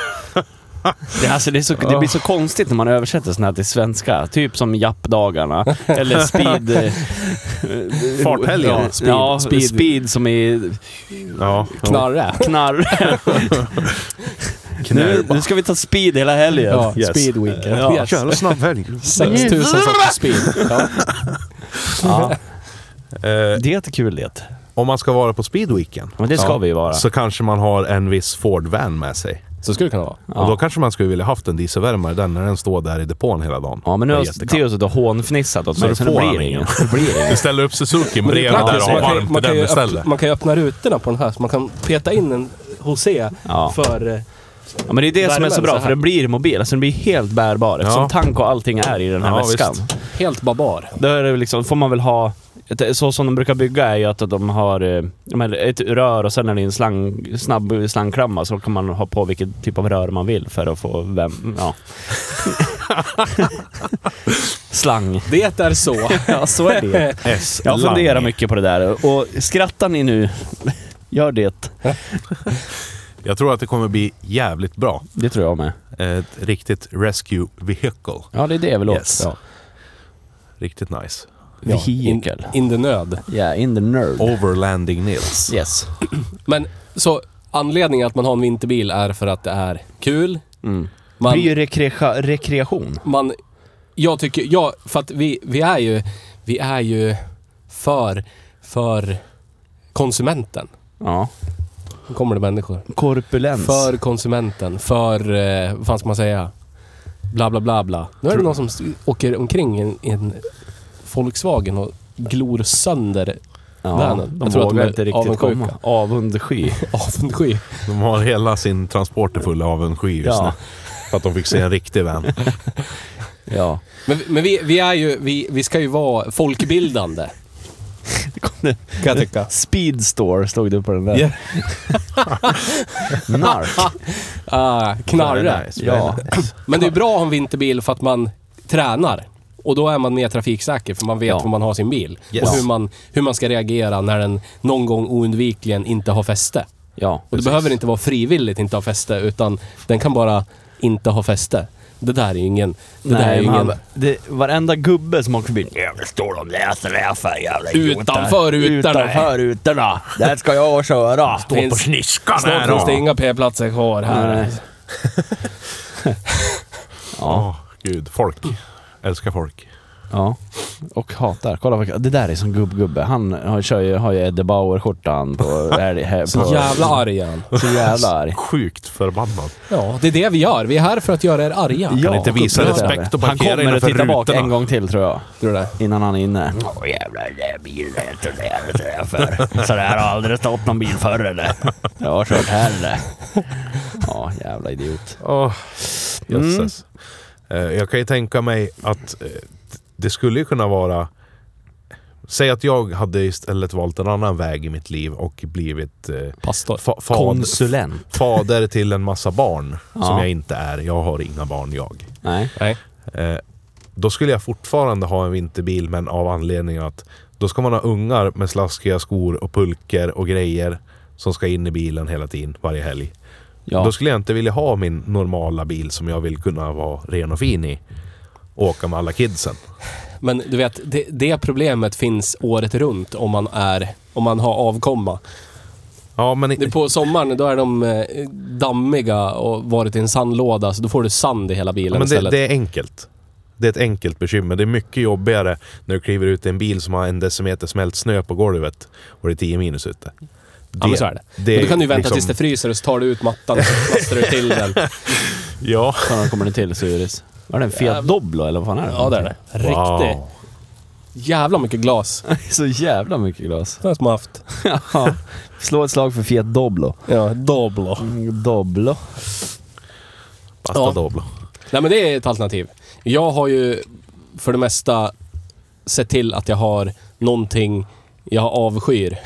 Det, alltså, det, är så, det blir så konstigt när man översätter sådana här till svenska. Typ som jappdagarna. Eller speed... eh, Farthelgen. Ja, Speed- speed, ja, speed- speed. som i Ja. Knarre. knarr. nu, nu ska vi ta speed hela helgen. Ja, Yes. speed weekend. Ja. Yes. Kör en snabb helg. Mm. 6000 sorters speed. Ja. Ja, Eh, det är kul det. om man ska vara på Speed Weekend Men det ska vi ju vara. så kanske man har en viss Ford van med sig. Så skulle det kunna vara. Ja. Och då kanske man skulle vilja haft en dieselvärmare där när den står där i depån hela dagen. Ja, men nu Det är har jättekallt. Theo suttit och hånfnissat åt Så mig, då så nu får blir han det ingen. ingen. Det blir det. Vi ställer upp Suzuki Men det är bredvid där praktiskt. och Man har kan ju- varmt i man kan den ju öppna- istället. Man kan ju öppna rutorna på den här så man kan peta in en Jose Ja. för... eh, Ja, men det är det som är så Värmen bra, så här. för den blir mobil. Alltså den blir helt bärbar. Eftersom Ja. tank och allting är i den här Ja, väskan. visst. Helt babar. Då är det liksom, får man väl ha... ett- Så som de brukar bygga är ju att de har eh, ja, men ett rör och sen är det en slang, snabb slangklamma så kan man ha på vilket typ av rör man vill för att få vem... Ja. Slang. Det är så. Ja, så är det. S. Jag Lang. funderar mycket på det där och skrattar ni nu, gör det. Jag tror att det kommer bli jävligt bra. Det tror jag med. Ett riktigt rescue vehicle. Ja, det är det jag vill åt. Yes. Ja. Riktigt nice. Ja, in, Vehicle. in the nöd. Yeah, in the nerd. Overlanding Nils. Yes. Men så anledningen att man har en vinterbil är för att det är kul. Mm. Det blir Man, ju rekre- rekreation. man, jag tycker, ja, för att vi, vi är ju, vi är ju för, för konsumenten. Ja. Nu kommer det människor. Korpulens. För konsumenten, för, eh, vad fan ska man säga? Bla, bla, bla, bla. Nu är det någon som st- åker omkring i en, i en Volkswagen och glor sönder Ja, Vanen. de Jag tror att de vågar är inte riktigt avundsjuka. komma. Avundsky. avundsky. De har hela sin transporter full av en sky just Ja. nu. För att de fick se en riktig vän. Ja. Men, men vi, vi är ju, vi, vi ska ju vara folkbildande. kan jag tycka. Speed Store stod det på den där. Ja. Nark. Ah, knarre. Ja. Men det är bra om vinterbil för att man tränar. Och då är man mer trafiksäker för man vet Ja. var man har sin bil. Yes. Och hur man, hur man ska reagera när den någon gång oundvikligen inte har fäste. ja. Och det behöver inte vara frivilligt inte ha fäste utan den kan bara inte ha fäste. Det där är ju ingen... Det där är ju men ingen... han- det, varenda gubbe som åker förbi. Jävlar, står de där så där för jävla idioter. Utanför rutorna. Utanför rutorna. Där ska jag köra. Står på sniskan Snart finns det inga p-platser kvar här. Nej. Åh, ja, gud. Folk. Älskar folk. ja. Och hatar. Kolla vad, det där är som gubb-gubbe. Han har, kör ju, har ju Eddie Bauer-skjortan på... här- här- Så på- jävla arg är han. Så jävla arg. Sjukt förbannad. Ja, det är det vi gör. Vi är här för att göra er arga. Ja, inte visa upprörda. respekt och Han parkera kommer att innanför titta bak rutorna. en gång till tror jag. Tror du det? Innan han är inne. Åh jävlar, det är bilen jag tror det är så där för. Så där har aldrig stått någon bil förr eller? Jag har kört här eller? Ja, jävla idiot. Åh, jösses. Eh, Jag kan ju tänka mig att eh, det skulle ju kunna vara... Säg att jag hade istället valt en annan väg i mitt liv och blivit eh, Pastor. fa fad- Konsulent. fader till en massa barn. Som Ja. jag inte är. Jag har inga barn jag. Nej. Nej. Eh, då skulle jag fortfarande ha en vinterbil men av anledningen att då ska man ha ungar med slaskiga skor och pulker och grejer som ska in i bilen hela tiden varje helg. Ja. Då skulle jag inte vilja ha min normala bil som jag vill kunna vara ren och fin i. Och åka med alla kidsen. Men du vet, det, det problemet finns året runt om man, är, om man har avkomma. Ja, men Det är i, på sommaren, då är de eh, dammiga och varit i en sandlåda, så då får du sand i hela bilen men det, istället. det är enkelt. Det är ett enkelt bekymmer. Det är mycket jobbigare när du kliver ut i en bil som har en decimeter smält snö på golvet och det är 10 minus ute. ja, men så är det. det men då kan du ju vänta liksom- tills det fryser och så tar du ut mattan och så plastrar du till den. Ja. Kolla, kommer det till Syris. Var det en Fiat Doblo eller vad fan är det? Ja, det är det. Riktigt. Wow. Jävla mycket glas. det. är så jävla mycket glas. Det har man haft. Ja. Slå ett slag för Fiat Doblo. Mm, Ja, Doblo. Doblo. Pasta Ja. Doblo. Nej men det är ett alternativ. Jag har ju för det mesta sett till att jag har någonting jag avskyr.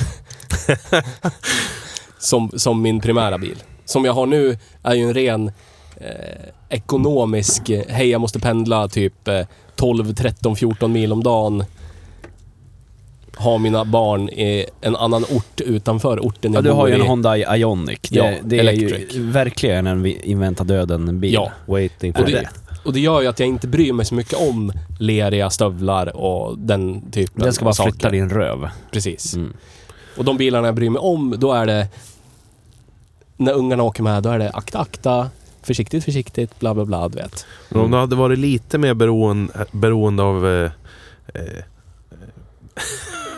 som, som min primära bil. Som jag har nu är ju en ren eh, ekonomisk, eh, hej jag måste pendla typ eh, 12, 13, 14 mil om dagen. Ha mina barn i en annan ort utanför orten Ja, jag du har bor ju en i. Honda Ioniq. Det, Ja, det är electric. ju verkligen en vi- invänta döden-bil. Ja. Waiting Och for det, och det gör ju att jag inte bryr mig så mycket om leriga stövlar och den typen Den ska bara av saker. flytta din röv. Precis. Mm. Och de bilarna jag bryr mig om, då är det... När ungarna åker med, då är det akta, akta, försiktigt, försiktigt, bla, bla, bla, du vet. Men om du hade varit lite mer beroende, beroende av eh, eh,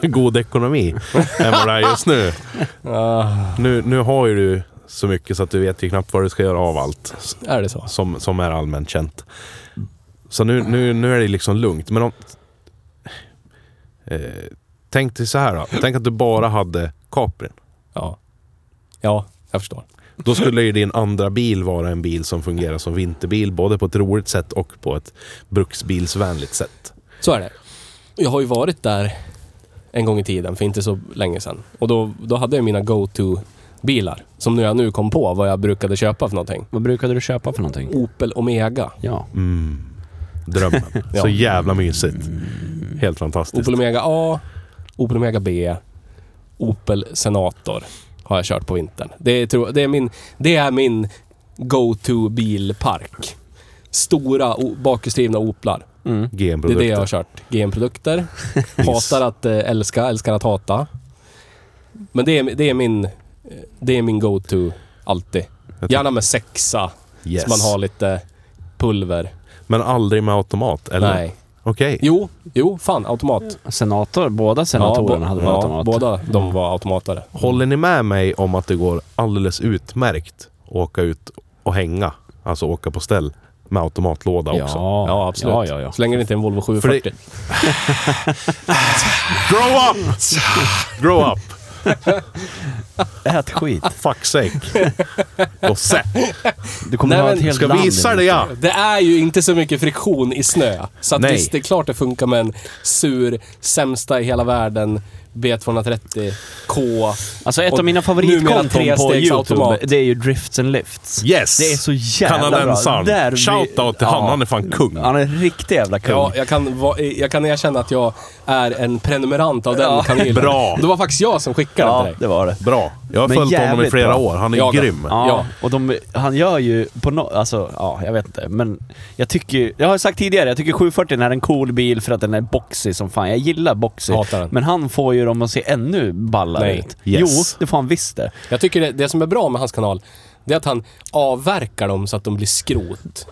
god ekonomi än vad det är just nu. Ah. nu. Nu har ju du så mycket så att du vet ju knappt vad du ska göra av allt s- Är det så? som, som är allmänt känt. Så nu, nu, nu är det liksom lugnt. Men om, eh, tänk dig så här då. Tänk att du bara hade Caprin. Ja. Ja, jag förstår. Då skulle ju din andra bil vara en bil som fungerar som vinterbil, både på ett roligt sätt och på ett bruksbilsvänligt sätt. Så är det. Jag har ju varit där en gång i tiden, för inte så länge sedan. Och då, då hade jag mina go-to-bilar, som nu jag nu kom på vad jag brukade köpa för någonting. Vad brukade du köpa för någonting? Opel Omega. Ja. Mm. Drömmen. Ja. Så jävla mysigt. Helt fantastiskt. Opel Omega A, Opel Omega B, Opel Senator har jag kört på vintern. Det är, tro- det är min, det är min go-to-bilpark. Stora o- bakhjulsdrivna Oplar. Mm. Det är det GM-produkter. jag har kört. GM-produkter. Hatar att eh, älska, älskar att hata. Men det är, det är min, eh, det är min go-to alltid. Jag Gärna med sexa, Yes. så man har lite pulver. Men aldrig med automat? Eller? Nej. Okej. Jo, jo, fan automat. Senator, båda senatorerna bo- hade ja, ja, automat. båda de var automatare. Håller ni med mig om att det går alldeles utmärkt att åka ut och hänga? Alltså åka på ställ med automatlåda Ja, också. Ja, absolut. Ja, ja, ja. Så länge det inte är en Volvo 740. Grow up! Grow up! Ät skit. Fuck sake. Och sätt. Du kommer Nej, ha men ett helt Ska land visa emot dig ja. Det är ju inte så mycket friktion i snö. Så att Nej. visst, det är klart det funkar med en sur, sämsta i hela världen, B230, K. Alltså ett Och av mina numera favoritkonton på Youtube, trestegsautomat. det är ju Drifts and Lifts. Yes! Det är så jävla bra. Där Kanadensaren. vi- Shoutout till han. Ja. Han är fan kung. Han är en riktig jävla kung. Ja, jag kan, va- jag kan erkänna att jag är en prenumerant av den Ja. kanelen. Bra. Det var faktiskt jag som skickade den Ja, till dig. det var det. Bra. Jag har Men följt honom i jävligt flera bra. år. Han är Jag då. grym. Ja, Ja. och de, han gör ju på något... Alltså, ja, jag vet inte. Men jag tycker ju- Jag har sagt tidigare, jag tycker 740 är en cool bil för att den är boxig som fan. Jag gillar boxig. Hatar den. Men han får ju dem att se ännu ballare Nej. ut. Yes. Jo, det får han visst det. Jag tycker det, det som är bra med hans kanal, det är att han avverkar dem så att de blir skrot.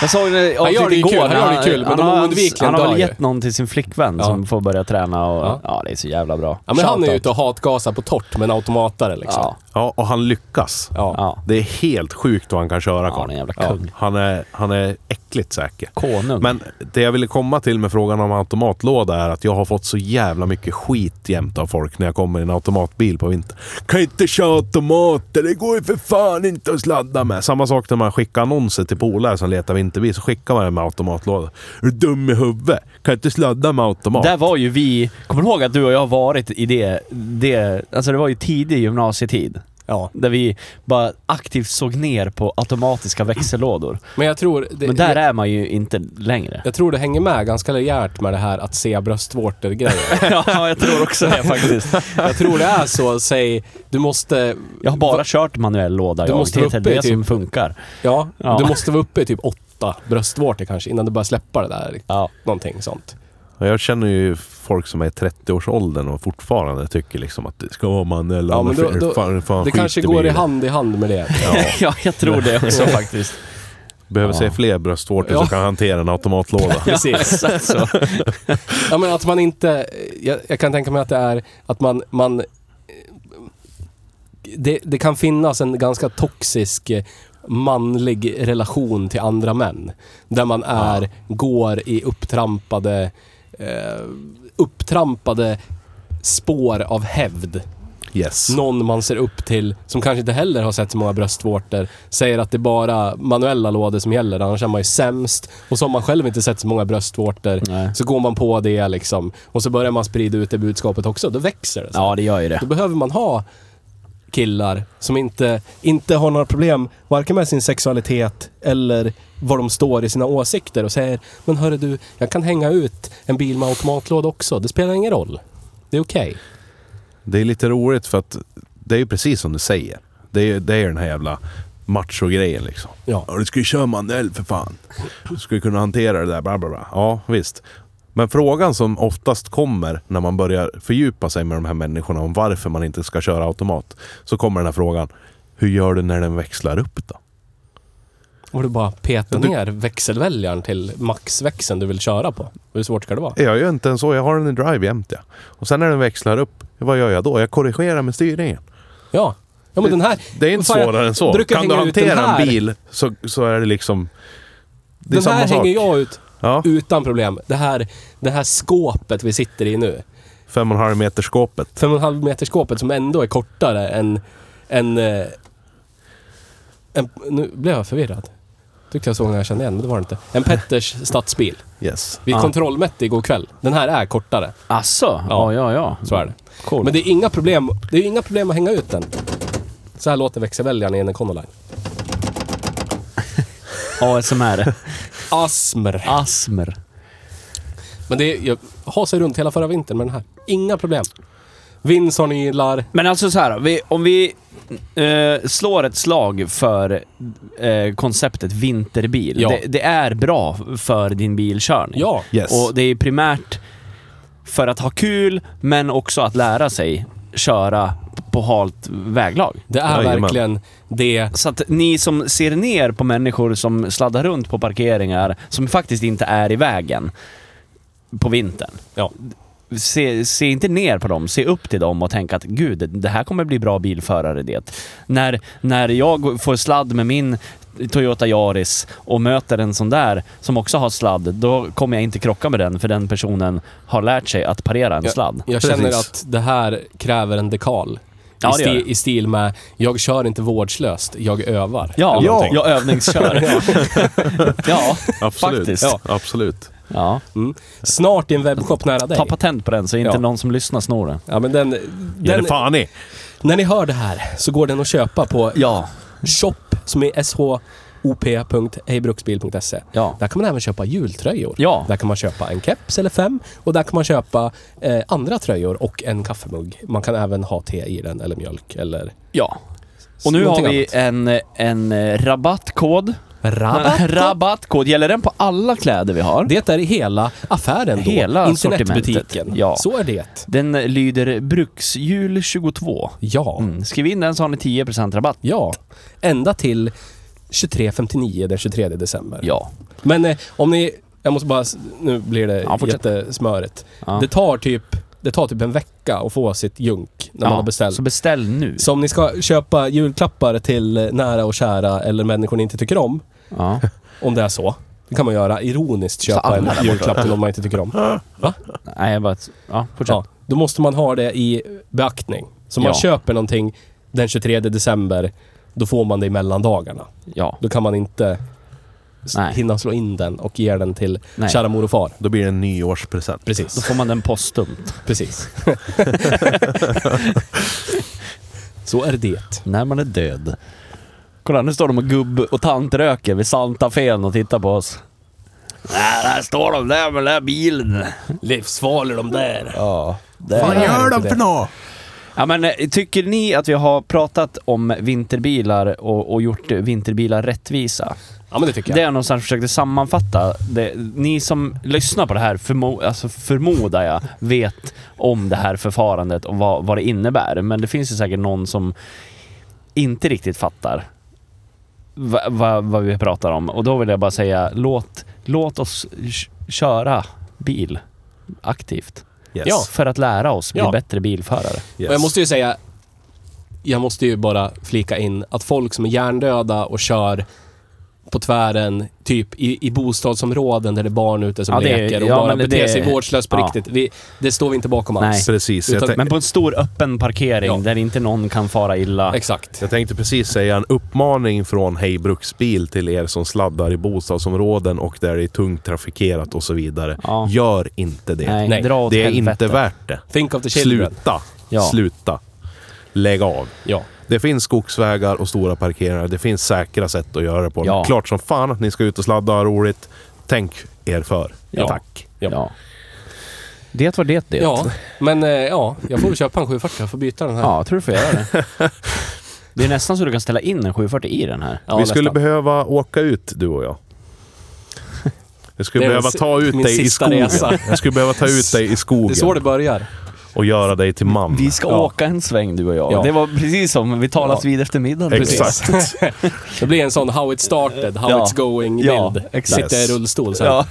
Jag såg det Han gör det ju igår, kul, han när gör det kul, men han de har- oundvikligen Han har dör väl ju. gett någon till sin flickvän Ja. som får börja träna och... Ja. Ja, det är så jävla bra. Ja, men han är ju Shoutout. ute och hatgasar på torrt med en automatare liksom. Ja, Ja, och han lyckas. Ja. ja. Det är helt sjukt vad han kan köra, Ja, han är en karln. jävla kung. han, är, han är äckligt säker. Konung. Men det jag ville komma till med frågan om automatlåda är att jag har fått så jävla mycket skit jämt av folk när jag kommer i en automatbil på vintern. Kan inte köra automater, det går ju för fan inte att sladda med. Samma sak när man skickar annonser till polare som letar vinterbil, så skickar man den med automatlåda. Är du dum i huvudet? Kan inte sladda med automat. Där var ju vi... Kommer du ihåg att du och jag har varit i det... det alltså det var ju tidig gymnasietid. Ja. Där vi bara aktivt såg ner på automatiska växellådor. Men jag tror... Det, Men där jag, är man ju inte längre. jag tror det hänger med ganska rejält med det här att se bröstvårtor-grejen. ja, jag tror också det faktiskt. jag tror det är så, säg, du måste... Jag har bara kört manuell låda. Du jag. måste det vara är uppe i det som typ- funkar. Ja, Ja. du måste vara uppe i typ åtta bröstvårtor kanske innan du börjar släppa det där. Ja. Någonting sånt. Ja, Jag känner ju folk som är i 30-årsåldern och fortfarande tycker liksom att det ska vara manuell. Ja, men annars då- är det då- fan, fan det skit kanske går i bilen. hand i hand med det. ja, jag tror det också faktiskt. Behöver se Ja. fler bröstvårtor Ja. som kan hantera en automatlåda. Precis. Så, så. Ja, men att man inte... Jag, jag kan tänka mig att det är att man... man det, det kan finnas en ganska toxisk eh, manlig relation till andra män. Där man är, går i upptrampade, eh, upptrampade spår av hävd. Yes. Någon man ser upp till, som kanske inte heller har sett så många bröstvårtor, säger att det är bara manuella lådor som gäller, annars är man ju sämst. Och så har man själv inte sett så många bröstvårtor. Nej. Så går man på det liksom. Och så börjar man sprida ut det budskapet också. Då växer det. Ja, det gör ju det. Då behöver man ha killar som inte, inte har några problem varken med sin sexualitet eller var de står i sina åsikter och säger Men hörru du, jag kan hänga ut en bil med automatlåda också. Det spelar ingen roll. Det är okej. Det är lite roligt för att det är ju precis som du säger. Det är, det är den här jävla macho-grejen liksom. Ja. du ska ju köra manuell för fan. Du ska ju kunna hantera det där, bla bla bla. Ja, visst. Men frågan som oftast kommer när man börjar fördjupa sig med de här människorna om varför man inte ska köra automat. Så kommer den här frågan. Hur gör du när den växlar upp då? Och du bara petar Ja, du- ner växelväljaren till maxväxeln du vill köra på. Hur svårt ska det vara? Jag gör inte ens så. Jag har den i drive jämt ja. Och sen när den växlar upp, vad gör jag då? Jag korrigerar med styrningen. Ja. Ja men den här... Det är inte Fan, jag svårare än så. brukar Kan du hänga ut den hantera här. en bil så, så är det liksom... Det är Den samma här sak. hänger jag ut Ja, utan problem. Det här, det här skåpet vi sitter i nu. fem och en halv meter skåpet. 5,5 meter skåpet som ändå är kortare än... än, eh, en, nu blev jag förvirrad. Tyckte jag såg när jag kände igen, men det var det inte. En Petters stadsbil. Yes. Vi Ja. kontrollmätte igår kväll. Den här är kortare. Asså? Ja. Ja, ja, ja. Så är det. Cool. Men det är inga problem, det är inga problem att hänga ut den. Så här låter växelväljaren i en Econoline. ASMR. Asmer. Asmer. Men det är, jag har sig runt hela förra vintern med den här. Inga problem. Vinson gillar... Men alltså så här, vi, om vi eh, slår ett slag för eh, konceptet vinterbil. Ja. Det, det är bra för din bilkörning. Ja. Yes. Och det är primärt för att ha kul, men också att lära sig köra på halt väglag. Det är Jajamän. verkligen det... Så att ni som ser ner på människor som sladdar runt på parkeringar som faktiskt inte är i vägen på vintern. Ja. Se, se inte ner på dem, se upp till dem och tänk att gud, det här kommer bli bra bilförare det. När, när jag får sladd med min Toyota Yaris och möter en sån där som också har sladd, då kommer jag inte krocka med den för den personen har lärt sig att parera en Ja. sladd. Jag känner Precis. att det här kräver en dekal. Ja, I, det gör sti, det. I stil med, jag kör inte vårdslöst, jag övar. Ja, Eller någonting. jag övningskör. ja. Absolut. Faktiskt. Ja. Absolut. ja. Mm. Snart i en webbshop nära dig. Ta patent på den så inte Ja. någon som lyssnar snor den. Ja, men den, Ge den, det fan i. när ni hör det här så går den att köpa på Ja. shop som är shop.hejbruksbil.se. Ja. E. Där kan man även köpa jultröjor. Ja. Där kan man köpa en keps eller fem och där kan man köpa eh, andra tröjor och en kaffemugg. Man kan även ha te i den eller mjölk eller ja. Och nu har någonting vi en, en eh, rabattkod. annat. Rabatt. rabattkod. Gäller den på alla kläder vi har? Det är hela affären då. Hela Internetbutiken. sortimentet. Ja. Så är det. Den lyder Bruksjul22. Ja. Mm. Skriv in den så har ni 10% rabatt. Ja. Ända till 23.59 den 23 december. Ja. Men eh, om ni... Jag måste bara... s- Nu blir det Ja, fortsätt. jättesmörigt. Ja. Det tar typ... Det tar typ en vecka att få sitt junk när Ja, man har beställt. Så beställ nu. Så om ni ska köpa julklappar till eh, nära och kära eller människor ni inte tycker om, Ja. om det är så. Det kan man göra. Ironiskt köpa alla en där borta. julklapp till någon man inte tycker om. Nej, jag bara... Ja, fortsätt. Ja, då måste man ha det i beaktning. Så om man Ja. köper någonting den 23 december, då får man det i mellandagarna. Ja. Då kan man inte s- Nej. hinna slå in den och ge den till Nej. kära mor och far. Då blir det en nyårspresent. Då Precis, får man den postumt. precis. Så är det. När man är död. Kolla, nu står de och gubb och tantröker vid Santa Fen och tittar på oss. Nej, där står de där med den där bilen. Livsfarlig de där. Ja. Fan, Där. jag- gör de för nå? Ja, men eh, tycker ni att vi har pratat om vinterbilar och, och gjort eh, vinterbilar rättvisa? Ja men det tycker Det jag. jag någonstans försökte sammanfatta. Det, ni som lyssnar på det här, förmo, alltså förmodar jag, vet om det här förfarandet och vad, vad det innebär. Men det finns ju säkert någon som inte riktigt fattar va, va, vad vi pratar om. Och då vill jag bara säga, låt, låt oss k- köra bil aktivt. Yes. Ja. För att lära oss bli Ja. bättre bilförare. Yes. Och jag måste ju säga, jag måste ju bara flika in att folk som är hjärndöda och kör på tvären, typ i, i bostadsområden där det är barn ute som Ja, det är- leker och ja, bara men det- beter sig vårdslöst på ja. riktigt. Vi, det står vi inte bakom Nej. alls. Precis. Jag, Utan- tän- Men på en stor öppen parkering Ja. där inte någon kan fara illa. Exakt. jag tänkte precis säga en uppmaning från Hej Bruksbil till er som sladdar i bostadsområden och där det är tungt trafikerat och så vidare. Ja. Gör inte det. Nej, Nej, dra åt Det är helvete. inte värt det. Think of the children. Sluta. Ja. Sluta. Lägg av. Ja. Det finns skogsvägar och stora parkeringar. Det finns säkra sätt att göra det på. Ja. Klart som fan att ni ska ut och sladda och ha roligt. Tänk er för. Ja. Tack. Ja. Ja. Det var det det. Ja, men eh, ja, jag får väl köpa en 740. Jag får byta den här. Ja, jag tror du får göra det. Det är nästan så du kan ställa in en 740 i den här. Ja, vi skulle nästan. behöva åka ut, du och jag. Jag skulle Det är behöva min- ta ut min dig i sista skogen. resa. Jag skulle behöva ta ut dig i Det är så det skogen börjar. och göra dig till man. Vi ska Ja. åka en sväng du och jag. Ja. Det var precis som vi talas Ja. vid efter middagen. Exakt. Det blir en sån how it started, how Ja. it's going Ja, bild. exakt. Sitta i rullstol sen. Ja.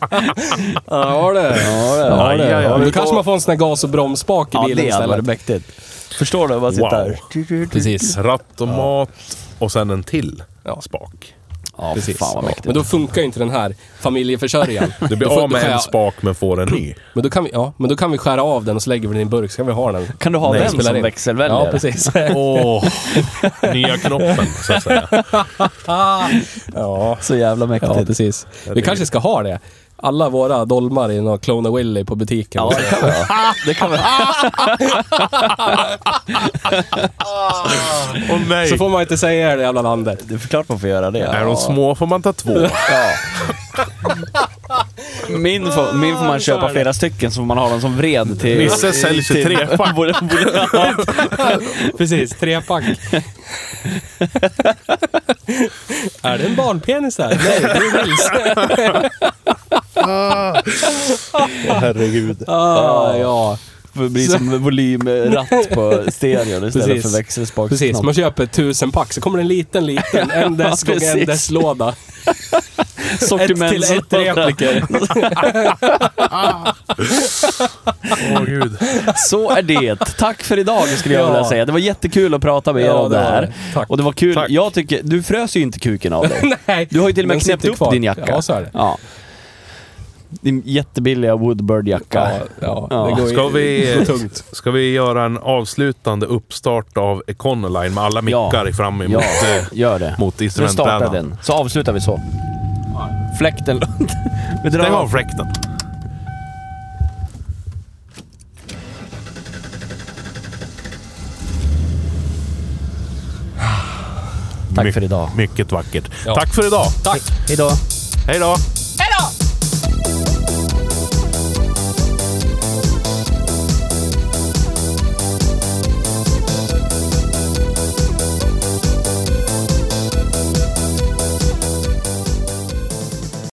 Ja, det. Ja, det. Ja, Då kanske man får en sån här gas och bromsspak i Ja, bilen det hade varit istället. mäktigt. Förstår du? Bara sitta Wow. här. Precis. Ratt och mat och sen en till Ja. spak. Ja, Precis. fan vad mäktigt. Men då funkar ju inte den här familjeförsörjaren. Du Då får- blir av då med kan en jag- spak men får en ny. Men då, kan vi, ja, men då kan vi skära av den och så lägger vi den i en burk, så kan vi ha den. kan du ha Nej, den spelar som in. växelväljare? Ja, precis. Åh, nya knoppen så att säga. ja, Så jävla mäktigt. Ah! ja, precis. Vi kanske ska ha det. Alla våra dolmar i någon Clona Willy på butiken. Ja, det kan vi ha. Det kan vi ha. Åh nej! Så får man inte säga i det jävla landet. Det är klart man får göra det. Är de små får man ta två. Ja. Min får, min får man köpa flera stycken så får man ha dem som vred till... Nisse säljs i till- trepack. Borde- borde- Precis, trepack. är det en barnpenis där? Nej, det är Nils. Herregud. Ah, ja. Det blir som eh, volymratt på stereon istället Precis. för växelspaksknopp. Precis, man köper tusen pack så kommer det en liten, liten, en dess gånger en precis. dess låda. sortiment. till ett repliker. Åh gud. Så är det. Tack för idag skulle jag Ja. vilja säga. Det var jättekul att prata med er om det här. Tack. Och det var kul. Tack. Jag tycker, du frös ju inte kuken av dig. Nej. Du har ju till och med Den knäppt sitter upp kvar. din jacka. Ja, så är det. Ja. Din jättebilliga Woodbird-jacka. Ja, ja, Ja. Det går ju- Ska vi- det går tungt. Ska vi göra en avslutande uppstart av Econoline med alla mickar i fram emot, Ja, eh, gör det. mot Nu startar instrumentbrädan? den, så avslutar vi så. Fläkten Vi drar Stäng av av. fläkten. Tack för idag. Mycket vackert. Ja. Tack för idag. Tack! Hejdå. Hej då.